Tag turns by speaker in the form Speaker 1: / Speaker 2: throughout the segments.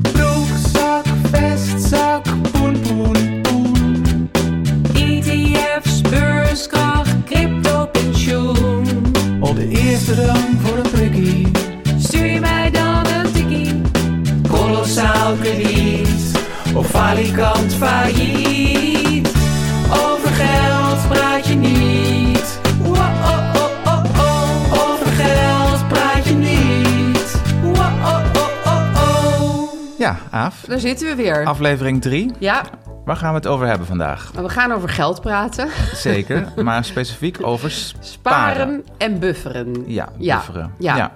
Speaker 1: Broekzak, vestzak, poen, poen, poen. ETF's, E beurskracht, crypto, pensioen. Op de eerste rang voor een prikkie. Stuur je mij dan een tikkie. Kolossaal krediet. Of falikant failliet. Over geld praat je niet. Wa-oh-oh-oh-oh. Over geld praat je niet. Wa-oh-oh-oh-oh.
Speaker 2: Ja, Aaf.
Speaker 3: Daar zitten we weer.
Speaker 2: Aflevering 3.
Speaker 3: Ja, Oh,
Speaker 2: Waar gaan we het over hebben vandaag?
Speaker 3: we gaan over geld praten.
Speaker 2: Zeker, maar specifiek over sparen.
Speaker 3: Sparen en bufferen.
Speaker 2: Ja, bufferen.
Speaker 3: Ja,
Speaker 2: ja.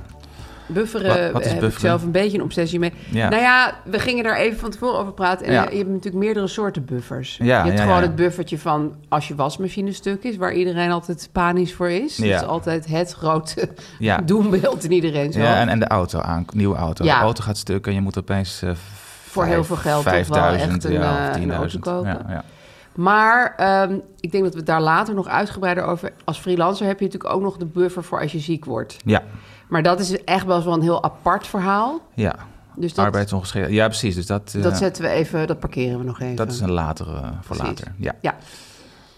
Speaker 3: bufferen
Speaker 2: Wat- wat is
Speaker 3: eh, heb ik
Speaker 2: bufferen?
Speaker 3: zelf een beetje een obsessie mee.
Speaker 2: Ja.
Speaker 3: Nou ja, we gingen daar even van tevoren over praten. En
Speaker 2: Ja.
Speaker 3: eh, je hebt natuurlijk meerdere soorten buffers.
Speaker 2: Ja,
Speaker 3: je hebt
Speaker 2: ja,
Speaker 3: gewoon
Speaker 2: ja.
Speaker 3: het buffertje van als je wasmachine stuk is... waar iedereen altijd panisch voor is.
Speaker 2: Ja.
Speaker 3: Dat is altijd het grote
Speaker 2: Ja.
Speaker 3: doembeeld in iedereen. Zo.
Speaker 2: Ja, en, en de auto aan, nieuwe auto.
Speaker 3: Ja.
Speaker 2: De auto gaat stuk en je moet opeens... eh,
Speaker 3: Voor heel
Speaker 2: vijf-
Speaker 3: veel geld toch wel echt
Speaker 2: 5000,
Speaker 3: een, eh,
Speaker 2: ja,
Speaker 3: een
Speaker 2: of 10.000.
Speaker 3: auto kopen.
Speaker 2: Ja, ja.
Speaker 3: Maar ehm, ik denk dat we het daar later nog uitgebreider over... als freelancer heb je natuurlijk ook nog de buffer voor als je ziek wordt.
Speaker 2: ja,
Speaker 3: Maar dat is echt wel eens wel een heel apart verhaal.
Speaker 2: ja.
Speaker 3: Dus dat,
Speaker 2: arbeidsongeschikt. Ja, precies. Dus dat, eh,
Speaker 3: dat zetten we even, dat parkeren we nog even.
Speaker 2: dat is een latere, eh, voor
Speaker 3: Precies.
Speaker 2: later. Ja.
Speaker 3: Ja,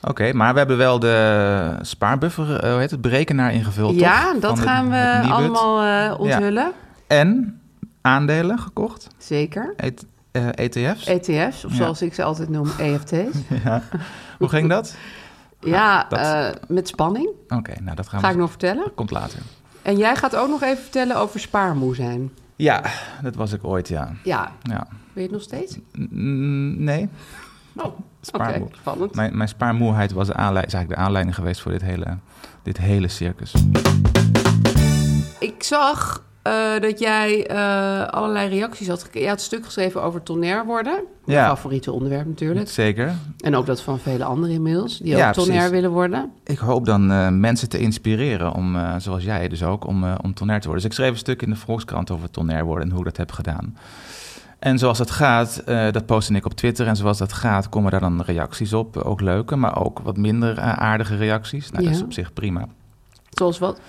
Speaker 2: Oké, maar we hebben wel de spaarbuffer, eh, hoe heet het, berekenaar ingevuld,
Speaker 3: ja
Speaker 2: toch?
Speaker 3: dat
Speaker 2: Van het-
Speaker 3: gaan
Speaker 2: het
Speaker 3: we
Speaker 2: Nibud.
Speaker 3: allemaal eh, onthullen.
Speaker 2: En aandelen gekocht,
Speaker 3: Zeker.
Speaker 2: Et- eh, ETF's.
Speaker 3: ETF's, of zoals ik ze altijd noem, E EFT's.
Speaker 2: Hoe ging dat?
Speaker 3: ja,
Speaker 2: dat-
Speaker 3: eh, met spanning.
Speaker 2: Oké, nou dat gaan we...
Speaker 3: Ga ik nog vertellen.
Speaker 2: Komt later.
Speaker 3: En jij gaat ook nog even vertellen over spaarmoe zijn.
Speaker 2: Ja, dat was ik ooit, ja.
Speaker 3: Ja,
Speaker 2: ja.
Speaker 3: weet je het nog steeds?
Speaker 2: Mm, Nee,
Speaker 3: Oh,
Speaker 2: spaarmoe.
Speaker 3: Oké, spannend.
Speaker 2: mijn, mijn spaarmoeheid was de aanleiding, is eigenlijk de aanleiding geweest voor dit hele, dit hele circus.
Speaker 3: Ik zag eh, dat jij eh, allerlei reacties had gekregen. Je had een stuk geschreven over tonair worden. Mijn
Speaker 2: Ja.
Speaker 3: favoriete onderwerp natuurlijk.
Speaker 2: Zeker.
Speaker 3: En ook dat van vele anderen inmiddels, die
Speaker 2: Ja,
Speaker 3: ook tonair
Speaker 2: precies.
Speaker 3: willen worden.
Speaker 2: Ik hoop dan eh, mensen te inspireren om, eh, zoals jij dus ook, om, eh, om tonair te worden. Dus ik schreef een stuk in de Volkskrant over tonair worden en hoe ik dat heb gedaan. En zoals dat gaat, eh, dat postte ik op Twitter. En zoals dat gaat, komen daar dan reacties op. Ook leuke, maar ook wat minder eh, aardige reacties. Nou, dat
Speaker 3: Ja.
Speaker 2: is op zich prima.
Speaker 3: Zoals wat?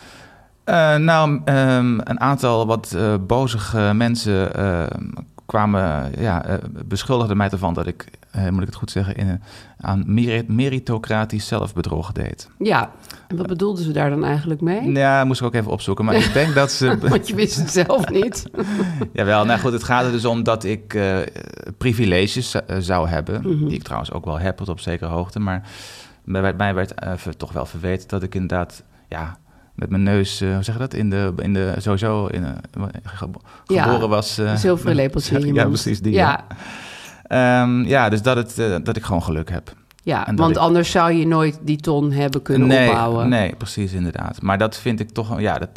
Speaker 2: Eh, nou, ehm, een aantal wat eh, bozige mensen ehm, kwamen, ja, eh, beschuldigden mij ervan dat ik, eh, moet ik het goed zeggen, in, een- aan merit- meritocratisch zelfbedrog deed.
Speaker 3: Ja, en wat bedoelden ze daar dan eigenlijk mee?
Speaker 2: Ja, moest ik ook even opzoeken, maar ik denk dat ze...
Speaker 3: Want je wist het zelf niet.
Speaker 2: Jawel, nou goed, het gaat er dus om dat ik eh, privileges eh, zou hebben,
Speaker 3: Mhm.
Speaker 2: die ik trouwens ook wel heb tot op zekere hoogte, maar mij werd, mij werd eh, ver- toch wel verweten dat ik inderdaad, ja, met mijn neus, eh, hoe zeg je dat, in de, in de sowieso in, eh, ge-
Speaker 3: Ja,
Speaker 2: geboren was. eh,
Speaker 3: Een zilveren lepeltje in je
Speaker 2: Ja,
Speaker 3: mond.
Speaker 2: precies die. Ja,
Speaker 3: Ja,
Speaker 2: Ehm, ja dus dat, het, eh, dat ik gewoon geluk heb.
Speaker 3: ja,
Speaker 2: En dat
Speaker 3: want
Speaker 2: ik-
Speaker 3: anders zou je nooit die ton hebben kunnen
Speaker 2: nee,
Speaker 3: opbouwen.
Speaker 2: Nee, precies inderdaad. Maar dat vind ik toch, ja, dat,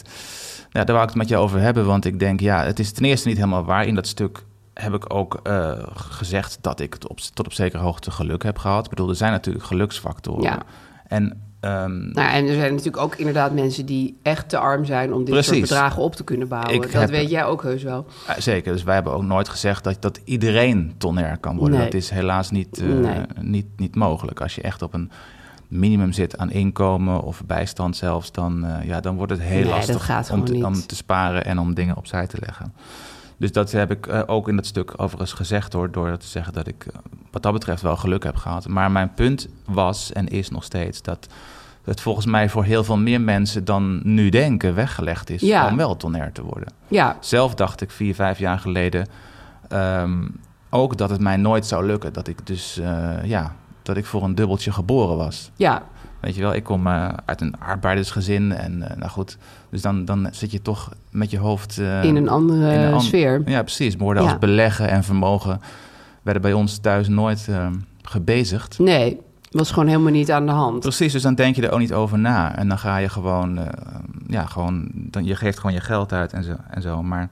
Speaker 2: ja, daar wou ik het met je over hebben. Want ik denk, ja, het is ten eerste niet helemaal waar. In dat stuk heb ik ook eh, gezegd dat ik het op, tot op zekere hoogte geluk heb gehad. Ik bedoel, er zijn natuurlijk geluksfactoren.
Speaker 3: Ja.
Speaker 2: En ehm,
Speaker 3: Nou, en er zijn natuurlijk ook inderdaad mensen die echt te arm zijn om dit soort
Speaker 2: Precies.
Speaker 3: bedragen op te kunnen bouwen.
Speaker 2: Ik
Speaker 3: dat
Speaker 2: heb-
Speaker 3: weet jij ook heus wel.
Speaker 2: eh, zeker, dus wij hebben ook nooit gezegd dat, dat iedereen tonner kan worden.
Speaker 3: Nee.
Speaker 2: Dat is helaas niet, eh,
Speaker 3: Nee.
Speaker 2: niet, niet mogelijk. Als je echt op een minimum zit aan inkomen of bijstand zelfs, dan, eh, ja, dan wordt het heel
Speaker 3: Nee, dat
Speaker 2: lastig
Speaker 3: gaat
Speaker 2: om,
Speaker 3: gewoon
Speaker 2: te,
Speaker 3: niet.
Speaker 2: om te sparen en om dingen opzij te leggen. Dus dat heb ik eh, ook in dat stuk overigens gezegd hoor, door te zeggen dat ik eh, wat dat betreft wel geluk heb gehad. Maar mijn punt was en is nog steeds dat het volgens mij voor heel veel meer mensen dan nu denken weggelegd is
Speaker 3: Ja.
Speaker 2: om wel tonair te worden.
Speaker 3: Ja,
Speaker 2: Zelf dacht ik vier, vijf jaar geleden ehm, ook dat het mij nooit zou lukken. Dat ik dus, eh, ja, dat ik voor een dubbeltje geboren was.
Speaker 3: ja,
Speaker 2: Weet je wel, ik kom eh, uit een arbeidersgezin en eh, nou goed. Dus dan, dan zit je toch met je hoofd... eh,
Speaker 3: in een andere
Speaker 2: in een an-
Speaker 3: sfeer.
Speaker 2: Ja, precies. Woorden
Speaker 3: Ja.
Speaker 2: als beleggen en vermogen werden bij ons thuis nooit ehm, gebezigd.
Speaker 3: Nee, was gewoon helemaal niet aan de hand.
Speaker 2: Precies, dus dan denk je er ook niet over na. En dan ga je gewoon, eh, ja, gewoon dan, je geeft gewoon je geld uit en zo. En zo. Maar,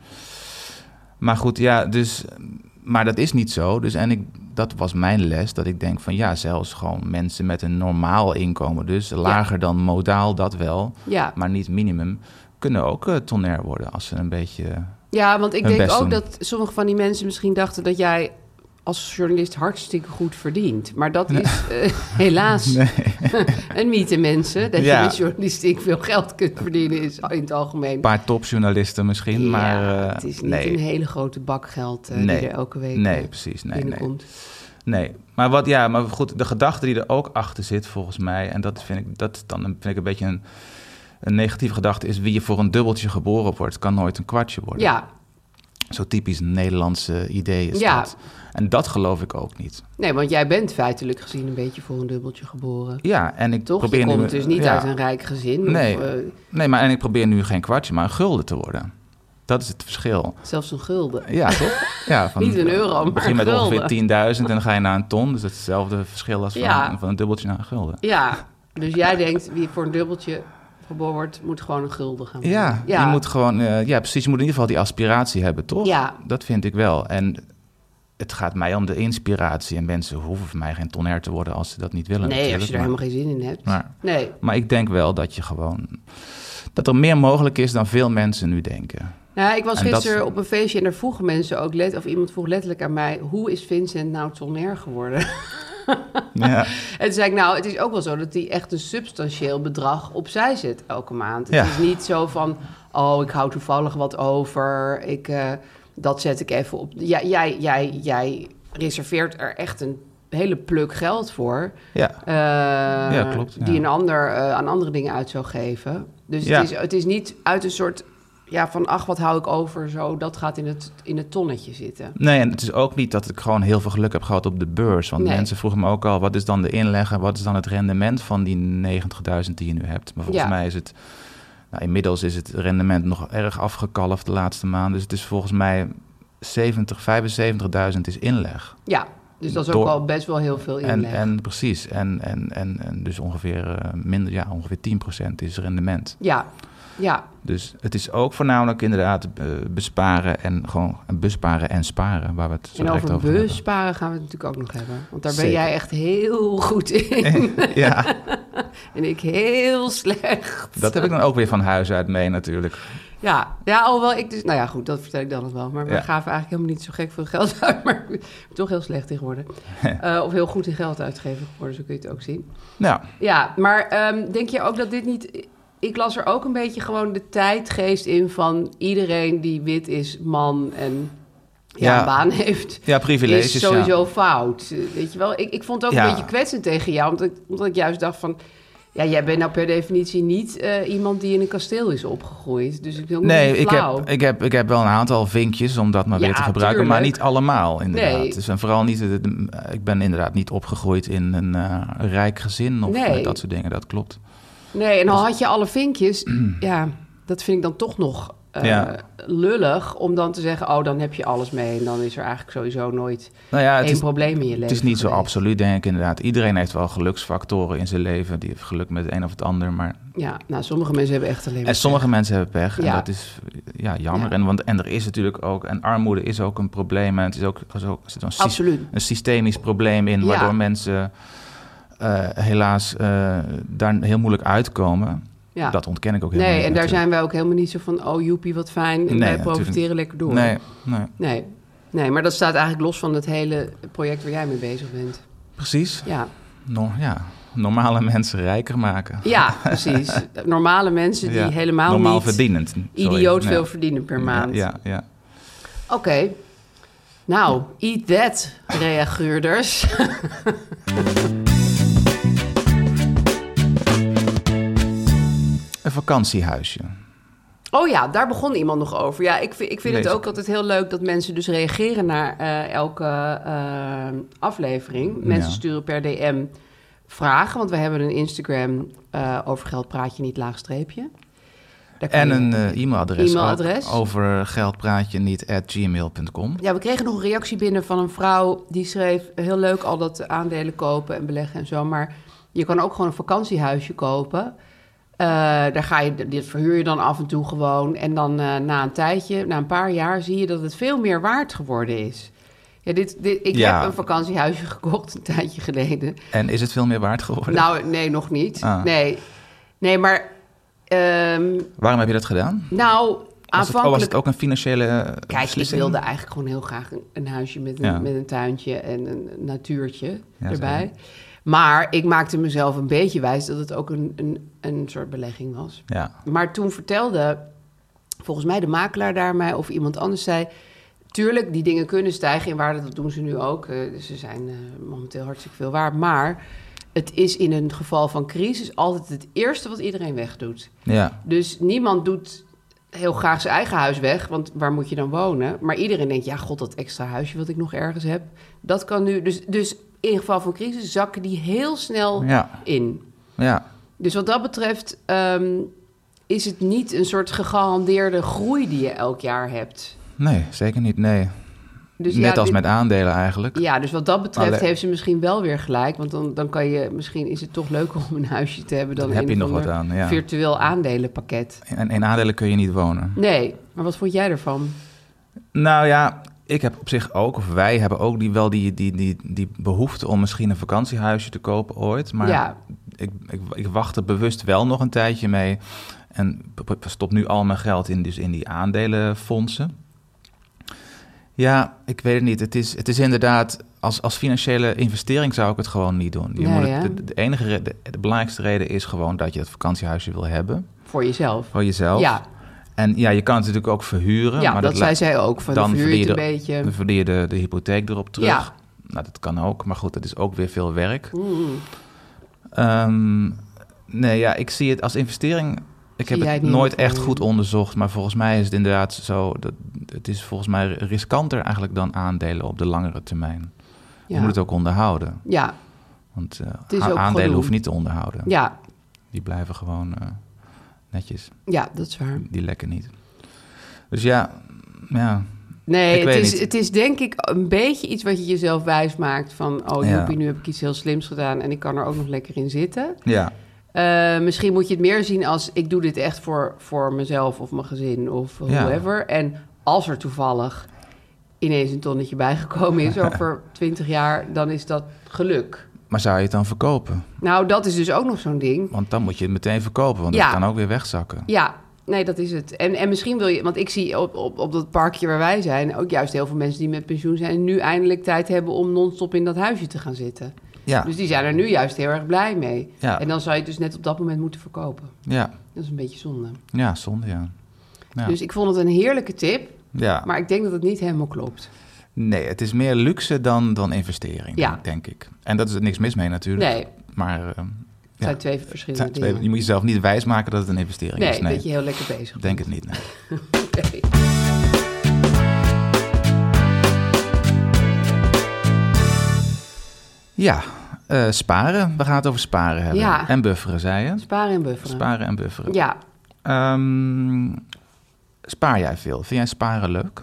Speaker 2: maar goed, ja, dus, maar dat is niet zo. Dus, en ik, dat was mijn les, dat ik denk van ja, zelfs gewoon mensen met een normaal inkomen, dus lager dan modaal, dat wel,
Speaker 3: Ja.
Speaker 2: maar niet minimum, kunnen ook eh, tonair worden als ze een beetje
Speaker 3: Ja, want ik
Speaker 2: hun
Speaker 3: denk
Speaker 2: best
Speaker 3: ook
Speaker 2: doen.
Speaker 3: dat sommige van die mensen misschien dachten dat jij als journalist hartstikke goed verdient. Maar dat is eh, helaas een mythe, mensen. Dat
Speaker 2: Ja.
Speaker 3: je met journalistiek veel geld kunt verdienen is in het algemeen.
Speaker 2: een paar topjournalisten misschien,
Speaker 3: Ja,
Speaker 2: maar eh,
Speaker 3: het is niet
Speaker 2: nee.
Speaker 3: een hele grote bak geld eh, die er elke week
Speaker 2: nee,
Speaker 3: eh,
Speaker 2: precies. Nee, nee.
Speaker 3: binnenkomt.
Speaker 2: Nee, maar wat ja, maar goed, de gedachte die er ook achter zit, volgens mij, en dat vind ik, dat is dan een- vind ik een beetje een, een negatieve gedachte, is wie je voor een dubbeltje geboren wordt, kan nooit een kwartje worden.
Speaker 3: Ja,
Speaker 2: Zo typisch Nederlandse idee is
Speaker 3: Ja.
Speaker 2: dat. En dat geloof ik ook niet.
Speaker 3: nee, want jij bent feitelijk gezien een beetje voor een dubbeltje geboren.
Speaker 2: Ja, en ik
Speaker 3: Toch?
Speaker 2: probeer
Speaker 3: je
Speaker 2: nu,
Speaker 3: komt dus niet
Speaker 2: ja.
Speaker 3: uit een rijk gezin. of,
Speaker 2: Nee.
Speaker 3: eh,
Speaker 2: Nee, maar en ik probeer nu geen kwartje, maar een gulden te worden. Dat is het verschil.
Speaker 3: zelfs een gulden.
Speaker 2: Ja, toch? Ja, van,
Speaker 3: Niet een euro, maar
Speaker 2: begin met
Speaker 3: een
Speaker 2: ongeveer 10.000
Speaker 3: gulden.
Speaker 2: en dan ga je naar een ton. Dus dat is hetzelfde verschil als van,
Speaker 3: Ja.
Speaker 2: een- van een dubbeltje naar een gulden.
Speaker 3: Ja, dus jij denkt wie voor een dubbeltje geboren wordt, moet gewoon een gulden gaan
Speaker 2: Ja,
Speaker 3: verdienen.
Speaker 2: je moet gewoon, eh, ja, precies. Je moet in ieder geval die aspiratie hebben, toch?
Speaker 3: Ja.
Speaker 2: Dat vind ik wel. En het gaat mij om de inspiratie. En mensen hoeven voor mij geen tonner te worden als ze dat niet willen.
Speaker 3: Nee, als je
Speaker 2: natuurlijk.
Speaker 3: er helemaal geen zin in hebt.
Speaker 2: Maar-
Speaker 3: Nee,
Speaker 2: maar, maar ik denk wel dat je gewoon. dat er meer mogelijk is dan veel mensen nu denken.
Speaker 3: nou, ik was
Speaker 2: En dat-
Speaker 3: gisteren op een feestje en daar vroegen mensen ook, let, of iemand vroeg letterlijk aan mij, hoe is Vincent nou tonair geworden?
Speaker 2: Ja,
Speaker 3: En toen zei ik, nou, het is ook wel zo dat hij echt een substantieel bedrag opzij zet elke maand. Het
Speaker 2: Ja.
Speaker 3: is niet zo van, oh, ik hou toevallig wat over, ik, eh, dat zet ik even op. Jij, jij, jij, jij reserveert er echt een hele pluk geld voor.
Speaker 2: ja.
Speaker 3: eh,
Speaker 2: Ja, klopt, ja.
Speaker 3: Die een ander eh, aan andere dingen uit zou geven. Dus
Speaker 2: Ja.
Speaker 3: het, is, het is niet uit een soort ja, van ach, wat hou ik over, zo, dat gaat in het, in het tonnetje zitten.
Speaker 2: Nee, en het is ook niet dat ik gewoon heel veel geluk heb gehad op de beurs. Want
Speaker 3: Nee.
Speaker 2: mensen vroegen me ook al, wat is dan de inleg en wat is dan het rendement van die 90.000 die je nu hebt? Maar volgens
Speaker 3: Ja.
Speaker 2: mij is het, nou, inmiddels is het rendement nog erg afgekalfd de laatste maand. Dus het is volgens mij 70, 75.000 is inleg.
Speaker 3: Ja, dus dat is
Speaker 2: Door-
Speaker 3: ook al best wel heel veel
Speaker 2: En,
Speaker 3: inleg.
Speaker 2: en precies, en, en, en, en dus ongeveer, eh, minder, ja, ongeveer 10% is rendement.
Speaker 3: Ja, ja.
Speaker 2: Dus het is ook voornamelijk inderdaad eh, besparen en gewoon eh, besparen en sparen, waar we het zo
Speaker 3: en
Speaker 2: direct
Speaker 3: over,
Speaker 2: over hebben.
Speaker 3: beurssparen gaan we het natuurlijk ook nog hebben. Want daar ben
Speaker 2: Zeker.
Speaker 3: jij echt heel goed in.
Speaker 2: Ja.
Speaker 3: en ik heel slecht.
Speaker 2: Dat heb ik dan ook weer van huis uit mee natuurlijk.
Speaker 3: Ja, ja, alhoewel ik dus... Nou ja, goed, dat vertel ik dan nog wel. Maar we
Speaker 2: Ja.
Speaker 3: gaven eigenlijk helemaal niet zo gek veel geld uit. Maar ik ben toch heel slecht in geworden. Eh, of heel goed in geld uitgeven geworden, zo kun je het ook zien.
Speaker 2: Nou,
Speaker 3: Ja, maar ehm, denk je ook dat dit niet... Ik las er ook een beetje gewoon de tijdgeest in van iedereen die wit is, man en ja,
Speaker 2: Ja.
Speaker 3: een baan heeft.
Speaker 2: ja, privileges.
Speaker 3: is
Speaker 2: ja.
Speaker 3: sowieso fout. Eh, Weet je wel, ik, ik vond het ook
Speaker 2: Ja.
Speaker 3: een beetje kwetsend tegen jou, omdat ik, omdat ik juist dacht van... Ja, jij bent nou per definitie niet eh, iemand die in een kasteel is opgegroeid. Dus ik wil
Speaker 2: Nee,
Speaker 3: niet
Speaker 2: ik
Speaker 3: flauw.
Speaker 2: heb, ik, heb, ik heb wel een aantal vinkjes om dat maar weer
Speaker 3: Ja,
Speaker 2: te gebruiken, maar
Speaker 3: tuurlijk.
Speaker 2: niet allemaal inderdaad.
Speaker 3: Nee.
Speaker 2: Dus en vooral niet, de- de- ik ben inderdaad niet opgegroeid in een eh, rijk gezin of
Speaker 3: Nee.
Speaker 2: eh, dat soort dingen, dat klopt.
Speaker 3: Nee, en al had je alle vinkjes, ja, dat vind ik dan toch nog eh,
Speaker 2: Ja.
Speaker 3: lullig... om dan te zeggen, oh, dan heb je alles mee... en dan is er eigenlijk sowieso nooit
Speaker 2: Nou ja, het
Speaker 3: één
Speaker 2: is,
Speaker 3: probleem in je leven
Speaker 2: het is niet zo
Speaker 3: geweest.
Speaker 2: absoluut denk ik inderdaad. Iedereen heeft wel geluksfactoren in zijn leven, die heeft geluk met het een of het ander, maar
Speaker 3: Ja, nou, sommige mensen hebben echt alleen maar...
Speaker 2: En sommige mensen hebben pech en
Speaker 3: Ja.
Speaker 2: dat is ja, jammer.
Speaker 3: Ja.
Speaker 2: En, want, en er is natuurlijk ook, en armoede is ook een probleem. En het is ook, er is ook er zit een, sys-
Speaker 3: Absoluut.
Speaker 2: een systemisch probleem in,
Speaker 3: Ja.
Speaker 2: waardoor mensen eh, helaas eh, daar heel moeilijk uitkomen.
Speaker 3: Ja.
Speaker 2: Dat ontken ik ook heel
Speaker 3: Nee, en daar zijn wij ook helemaal niet zo van... oh, joepie, wat fijn, en
Speaker 2: Nee,
Speaker 3: wij
Speaker 2: natuurlijk.
Speaker 3: profiteren lekker door.
Speaker 2: Nee, nee.
Speaker 3: Nee. nee, maar dat staat eigenlijk los van het hele project waar jij mee bezig bent.
Speaker 2: Precies.
Speaker 3: Ja,
Speaker 2: No- ja. Normale mensen rijker maken.
Speaker 3: ja precies. Normale mensen die
Speaker 2: Ja.
Speaker 3: helemaal
Speaker 2: Normaal
Speaker 3: niet
Speaker 2: verdienend. sorry.
Speaker 3: idioot
Speaker 2: Ja.
Speaker 3: veel verdienen per maand.
Speaker 2: Ja, ja, ja.
Speaker 3: Oké, nou, eat that, reageurders.
Speaker 2: een vakantiehuisje.
Speaker 3: Oh ja, daar begon iemand nog over. Ja, ik, vind- ik vind
Speaker 2: Lees.
Speaker 3: het ook altijd heel leuk dat mensen dus reageren naar eh, elke eh, aflevering. Mensen
Speaker 2: Ja.
Speaker 3: sturen per DM vragen, want we hebben een Instagram eh, over geld praat je niet laagstreepje. Daar kan
Speaker 2: En
Speaker 3: je-
Speaker 2: een eh, e-mailadres.
Speaker 3: E-mailadres.
Speaker 2: ook Over geldpraatje niet at gmail.com.
Speaker 3: Ja, we kregen nog een reactie binnen van een vrouw die schreef... heel leuk al dat aandelen kopen en beleggen en zo... maar je kan ook gewoon een vakantiehuisje kopen. Eh, daar ga je, dit verhuur je dan af en toe gewoon. En dan eh, na een tijdje, na een paar jaar... zie je dat het veel meer waard geworden is. Ja, dit, dit, ik
Speaker 2: Ja.
Speaker 3: heb een vakantiehuisje gekocht een tijdje geleden.
Speaker 2: En is het veel meer waard geworden?
Speaker 3: Nou, nee, nog niet.
Speaker 2: Ah.
Speaker 3: Nee. nee, maar... ehm,
Speaker 2: Waarom heb je dat gedaan?
Speaker 3: nou,
Speaker 2: Was het, oh, was
Speaker 3: aanvankelijk...
Speaker 2: het ook een financiële eh,
Speaker 3: Kijk, ik
Speaker 2: beslissing?
Speaker 3: wilde eigenlijk gewoon heel graag een, een huisje met een,
Speaker 2: Ja.
Speaker 3: met een tuintje en een natuurtje
Speaker 2: Ja,
Speaker 3: erbij. Maar ik maakte mezelf een beetje wijs dat het ook een, een, een soort belegging was.
Speaker 2: Ja.
Speaker 3: Maar toen vertelde volgens mij de makelaar daar mij of iemand anders zei... Tuurlijk, die dingen kunnen stijgen in waarde, dat doen ze nu ook. Eh, dus ze zijn eh, momenteel hartstikke veel waard. Maar het is in een geval van crisis altijd het eerste wat iedereen wegdoet.
Speaker 2: ja.
Speaker 3: Dus niemand doet heel graag zijn eigen huis weg, want waar moet je dan wonen? Maar iedereen denkt, ja, god, dat extra huisje wat ik nog ergens heb, dat kan nu. Dus, dus in geval van crisis zakken die heel snel
Speaker 2: Ja.
Speaker 3: in.
Speaker 2: Ja.
Speaker 3: Dus wat dat betreft ehm, is het niet een soort gegarandeerde groei die je elk jaar hebt.
Speaker 2: Nee, zeker niet. Nee.
Speaker 3: Dus
Speaker 2: Net
Speaker 3: ja,
Speaker 2: als
Speaker 3: dit-
Speaker 2: met aandelen eigenlijk.
Speaker 3: Ja, dus wat dat betreft
Speaker 2: Allee.
Speaker 3: heeft ze misschien wel weer gelijk. Want dan, dan kan je, misschien is het toch leuker om een huisje te hebben dan
Speaker 2: Dan heb
Speaker 3: een
Speaker 2: je
Speaker 3: of
Speaker 2: nog wat
Speaker 3: ander
Speaker 2: aan, ja.
Speaker 3: virtueel aandelenpakket.
Speaker 2: En in aandelen kun je niet wonen.
Speaker 3: Nee, maar wat vond jij ervan?
Speaker 2: Nou ja, ik heb op zich ook, of wij hebben ook die, wel die, die, die, die behoefte om misschien een vakantiehuisje te kopen ooit. Maar
Speaker 3: Ja.
Speaker 2: ik, ik, ik wacht er bewust wel nog een tijdje mee. En p- p- stop nu al mijn geld in, dus in die aandelenfondsen. Ja, ik weet het niet. Het is, het is inderdaad, als, als financiële investering zou ik het gewoon niet doen. Je
Speaker 3: Nee,
Speaker 2: moet het-
Speaker 3: hè?
Speaker 2: de, de enige, re- de, de belangrijkste reden is gewoon dat je dat vakantiehuisje wil hebben.
Speaker 3: Voor jezelf.
Speaker 2: Voor jezelf.
Speaker 3: Ja.
Speaker 2: En ja, je kan het natuurlijk ook verhuren.
Speaker 3: Ja,
Speaker 2: Oh. maar
Speaker 3: dat,
Speaker 2: la-
Speaker 3: zei zij ook. Van dan verhuur je het een
Speaker 2: de-
Speaker 3: beetje.
Speaker 2: dan verdien je de, de hypotheek erop terug.
Speaker 3: Ja.
Speaker 2: Nou, dat kan ook. Maar goed, dat is ook weer veel werk. Ehm, nee, ja, ik zie het als investering. Ik heb
Speaker 3: jij
Speaker 2: het
Speaker 3: het niet Mm.
Speaker 2: nooit
Speaker 3: voor
Speaker 2: echt
Speaker 3: je?
Speaker 2: goed onderzocht. Maar volgens mij is het inderdaad zo. Dat, het is volgens mij riskanter eigenlijk dan aandelen op de langere termijn. Je
Speaker 3: ja.
Speaker 2: moet het ook onderhouden.
Speaker 3: ja,
Speaker 2: Want eh,
Speaker 3: is
Speaker 2: a-
Speaker 3: ook
Speaker 2: aandelen
Speaker 3: gedoe.
Speaker 2: hoef je niet te onderhouden.
Speaker 3: ja,
Speaker 2: Die blijven gewoon eh, netjes.
Speaker 3: ja, dat is waar.
Speaker 2: Die lekken niet. Dus ja, ja.
Speaker 3: Nee,
Speaker 2: Ik
Speaker 3: het
Speaker 2: weet
Speaker 3: is,
Speaker 2: niet.
Speaker 3: het is denk ik een beetje iets wat je jezelf wijs maakt. Van, oh
Speaker 2: Ja.
Speaker 3: joepie, nu heb ik iets heel slims gedaan en ik kan er ook nog lekker in zitten.
Speaker 2: Ja,
Speaker 3: Eh, misschien moet je het meer zien als ik doe dit echt voor, voor mezelf of mijn gezin of
Speaker 2: Ja.
Speaker 3: whoever. En als er toevallig ineens een tonnetje bijgekomen is over 20 jaar, dan is dat geluk.
Speaker 2: maar zou je het dan verkopen?
Speaker 3: Nou, dat is dus ook nog zo'n ding.
Speaker 2: Want dan moet je het meteen verkopen, want
Speaker 3: Ja.
Speaker 2: dat kan ook weer wegzakken.
Speaker 3: Ja, nee, dat is het. En, en misschien wil je, want ik zie op, op, op dat parkje waar wij zijn ook juist heel veel mensen die met pensioen zijn en nu eindelijk tijd hebben om non-stop in dat huisje te gaan zitten.
Speaker 2: Ja,
Speaker 3: Dus die zijn er nu juist heel erg blij mee.
Speaker 2: Ja.
Speaker 3: En dan zou je het dus net op dat moment moeten verkopen.
Speaker 2: ja,
Speaker 3: Dat is een beetje zonde.
Speaker 2: ja, zonde, ja. Ja.
Speaker 3: Dus ik vond het een heerlijke tip,
Speaker 2: ja.
Speaker 3: maar ik denk dat het niet helemaal klopt.
Speaker 2: Nee, het is meer luxe dan, dan investering,
Speaker 3: Ja.
Speaker 2: denk, denk ik. En dat is er niks mis mee natuurlijk.
Speaker 3: Nee, het
Speaker 2: Maar eh, Ja.
Speaker 3: zijn twee
Speaker 2: het
Speaker 3: verschillende
Speaker 2: zijn twee-
Speaker 3: dingen.
Speaker 2: je moet jezelf niet wijsmaken dat het een investering
Speaker 3: nee,
Speaker 2: is. Nee,
Speaker 3: dat je heel lekker bezig bent.
Speaker 2: denk het niet. nee.
Speaker 3: Oké.
Speaker 2: Ja, eh, sparen. We gaan het over sparen hebben.
Speaker 3: Ja.
Speaker 2: En bufferen, zei je.
Speaker 3: Sparen en bufferen.
Speaker 2: Sparen en bufferen.
Speaker 3: Ja,
Speaker 2: Ehm, spaar jij veel? Vind jij sparen leuk?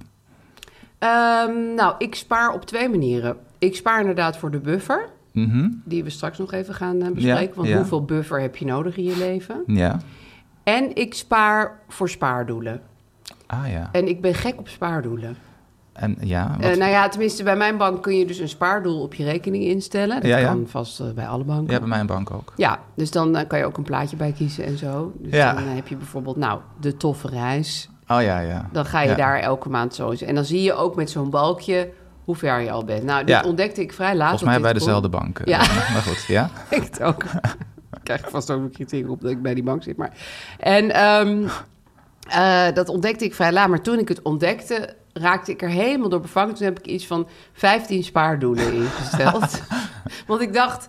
Speaker 3: Ehm, nou, ik spaar op twee manieren. Ik spaar inderdaad voor de buffer.
Speaker 2: Mhm.
Speaker 3: die we straks nog even gaan eh, bespreken. want
Speaker 2: ja.
Speaker 3: hoeveel buffer heb je nodig in je leven?
Speaker 2: Ja.
Speaker 3: En ik spaar voor spaardoelen.
Speaker 2: Ah ja.
Speaker 3: En ik ben gek op spaardoelen.
Speaker 2: En ja, wat-
Speaker 3: Eh, nou ja, tenminste, bij mijn bank kun je dus een spaardoel op je rekening instellen. Dat
Speaker 2: Ja, ja.
Speaker 3: kan vast eh, bij alle banken.
Speaker 2: ja, bij mijn bank ook.
Speaker 3: Ja, dus dan eh, kan je ook een plaatje bij kiezen en zo. Dus
Speaker 2: Ja.
Speaker 3: dan eh, heb je bijvoorbeeld, nou, de toffe reis.
Speaker 2: Oh ja, ja.
Speaker 3: Dan ga je
Speaker 2: Ja.
Speaker 3: daar elke maand zo eens. En dan zie je ook met zo'n balkje hoe ver je al bent. Nou, dit
Speaker 2: Ja.
Speaker 3: ontdekte ik vrij laat.
Speaker 2: Volgens mij bij
Speaker 3: want dit kon-
Speaker 2: dezelfde bank. eh,
Speaker 3: Ja.
Speaker 2: Maar goed, ja.
Speaker 3: Ik het ook. Ik krijg vast ook een kritiek op dat ik bij die bank zit. Maar... En ehm, eh, dat ontdekte ik vrij laat. Maar toen ik het ontdekte, raakte ik er helemaal door bevangen. Toen heb ik iets van 15 spaardoelen ingesteld. Want ik dacht,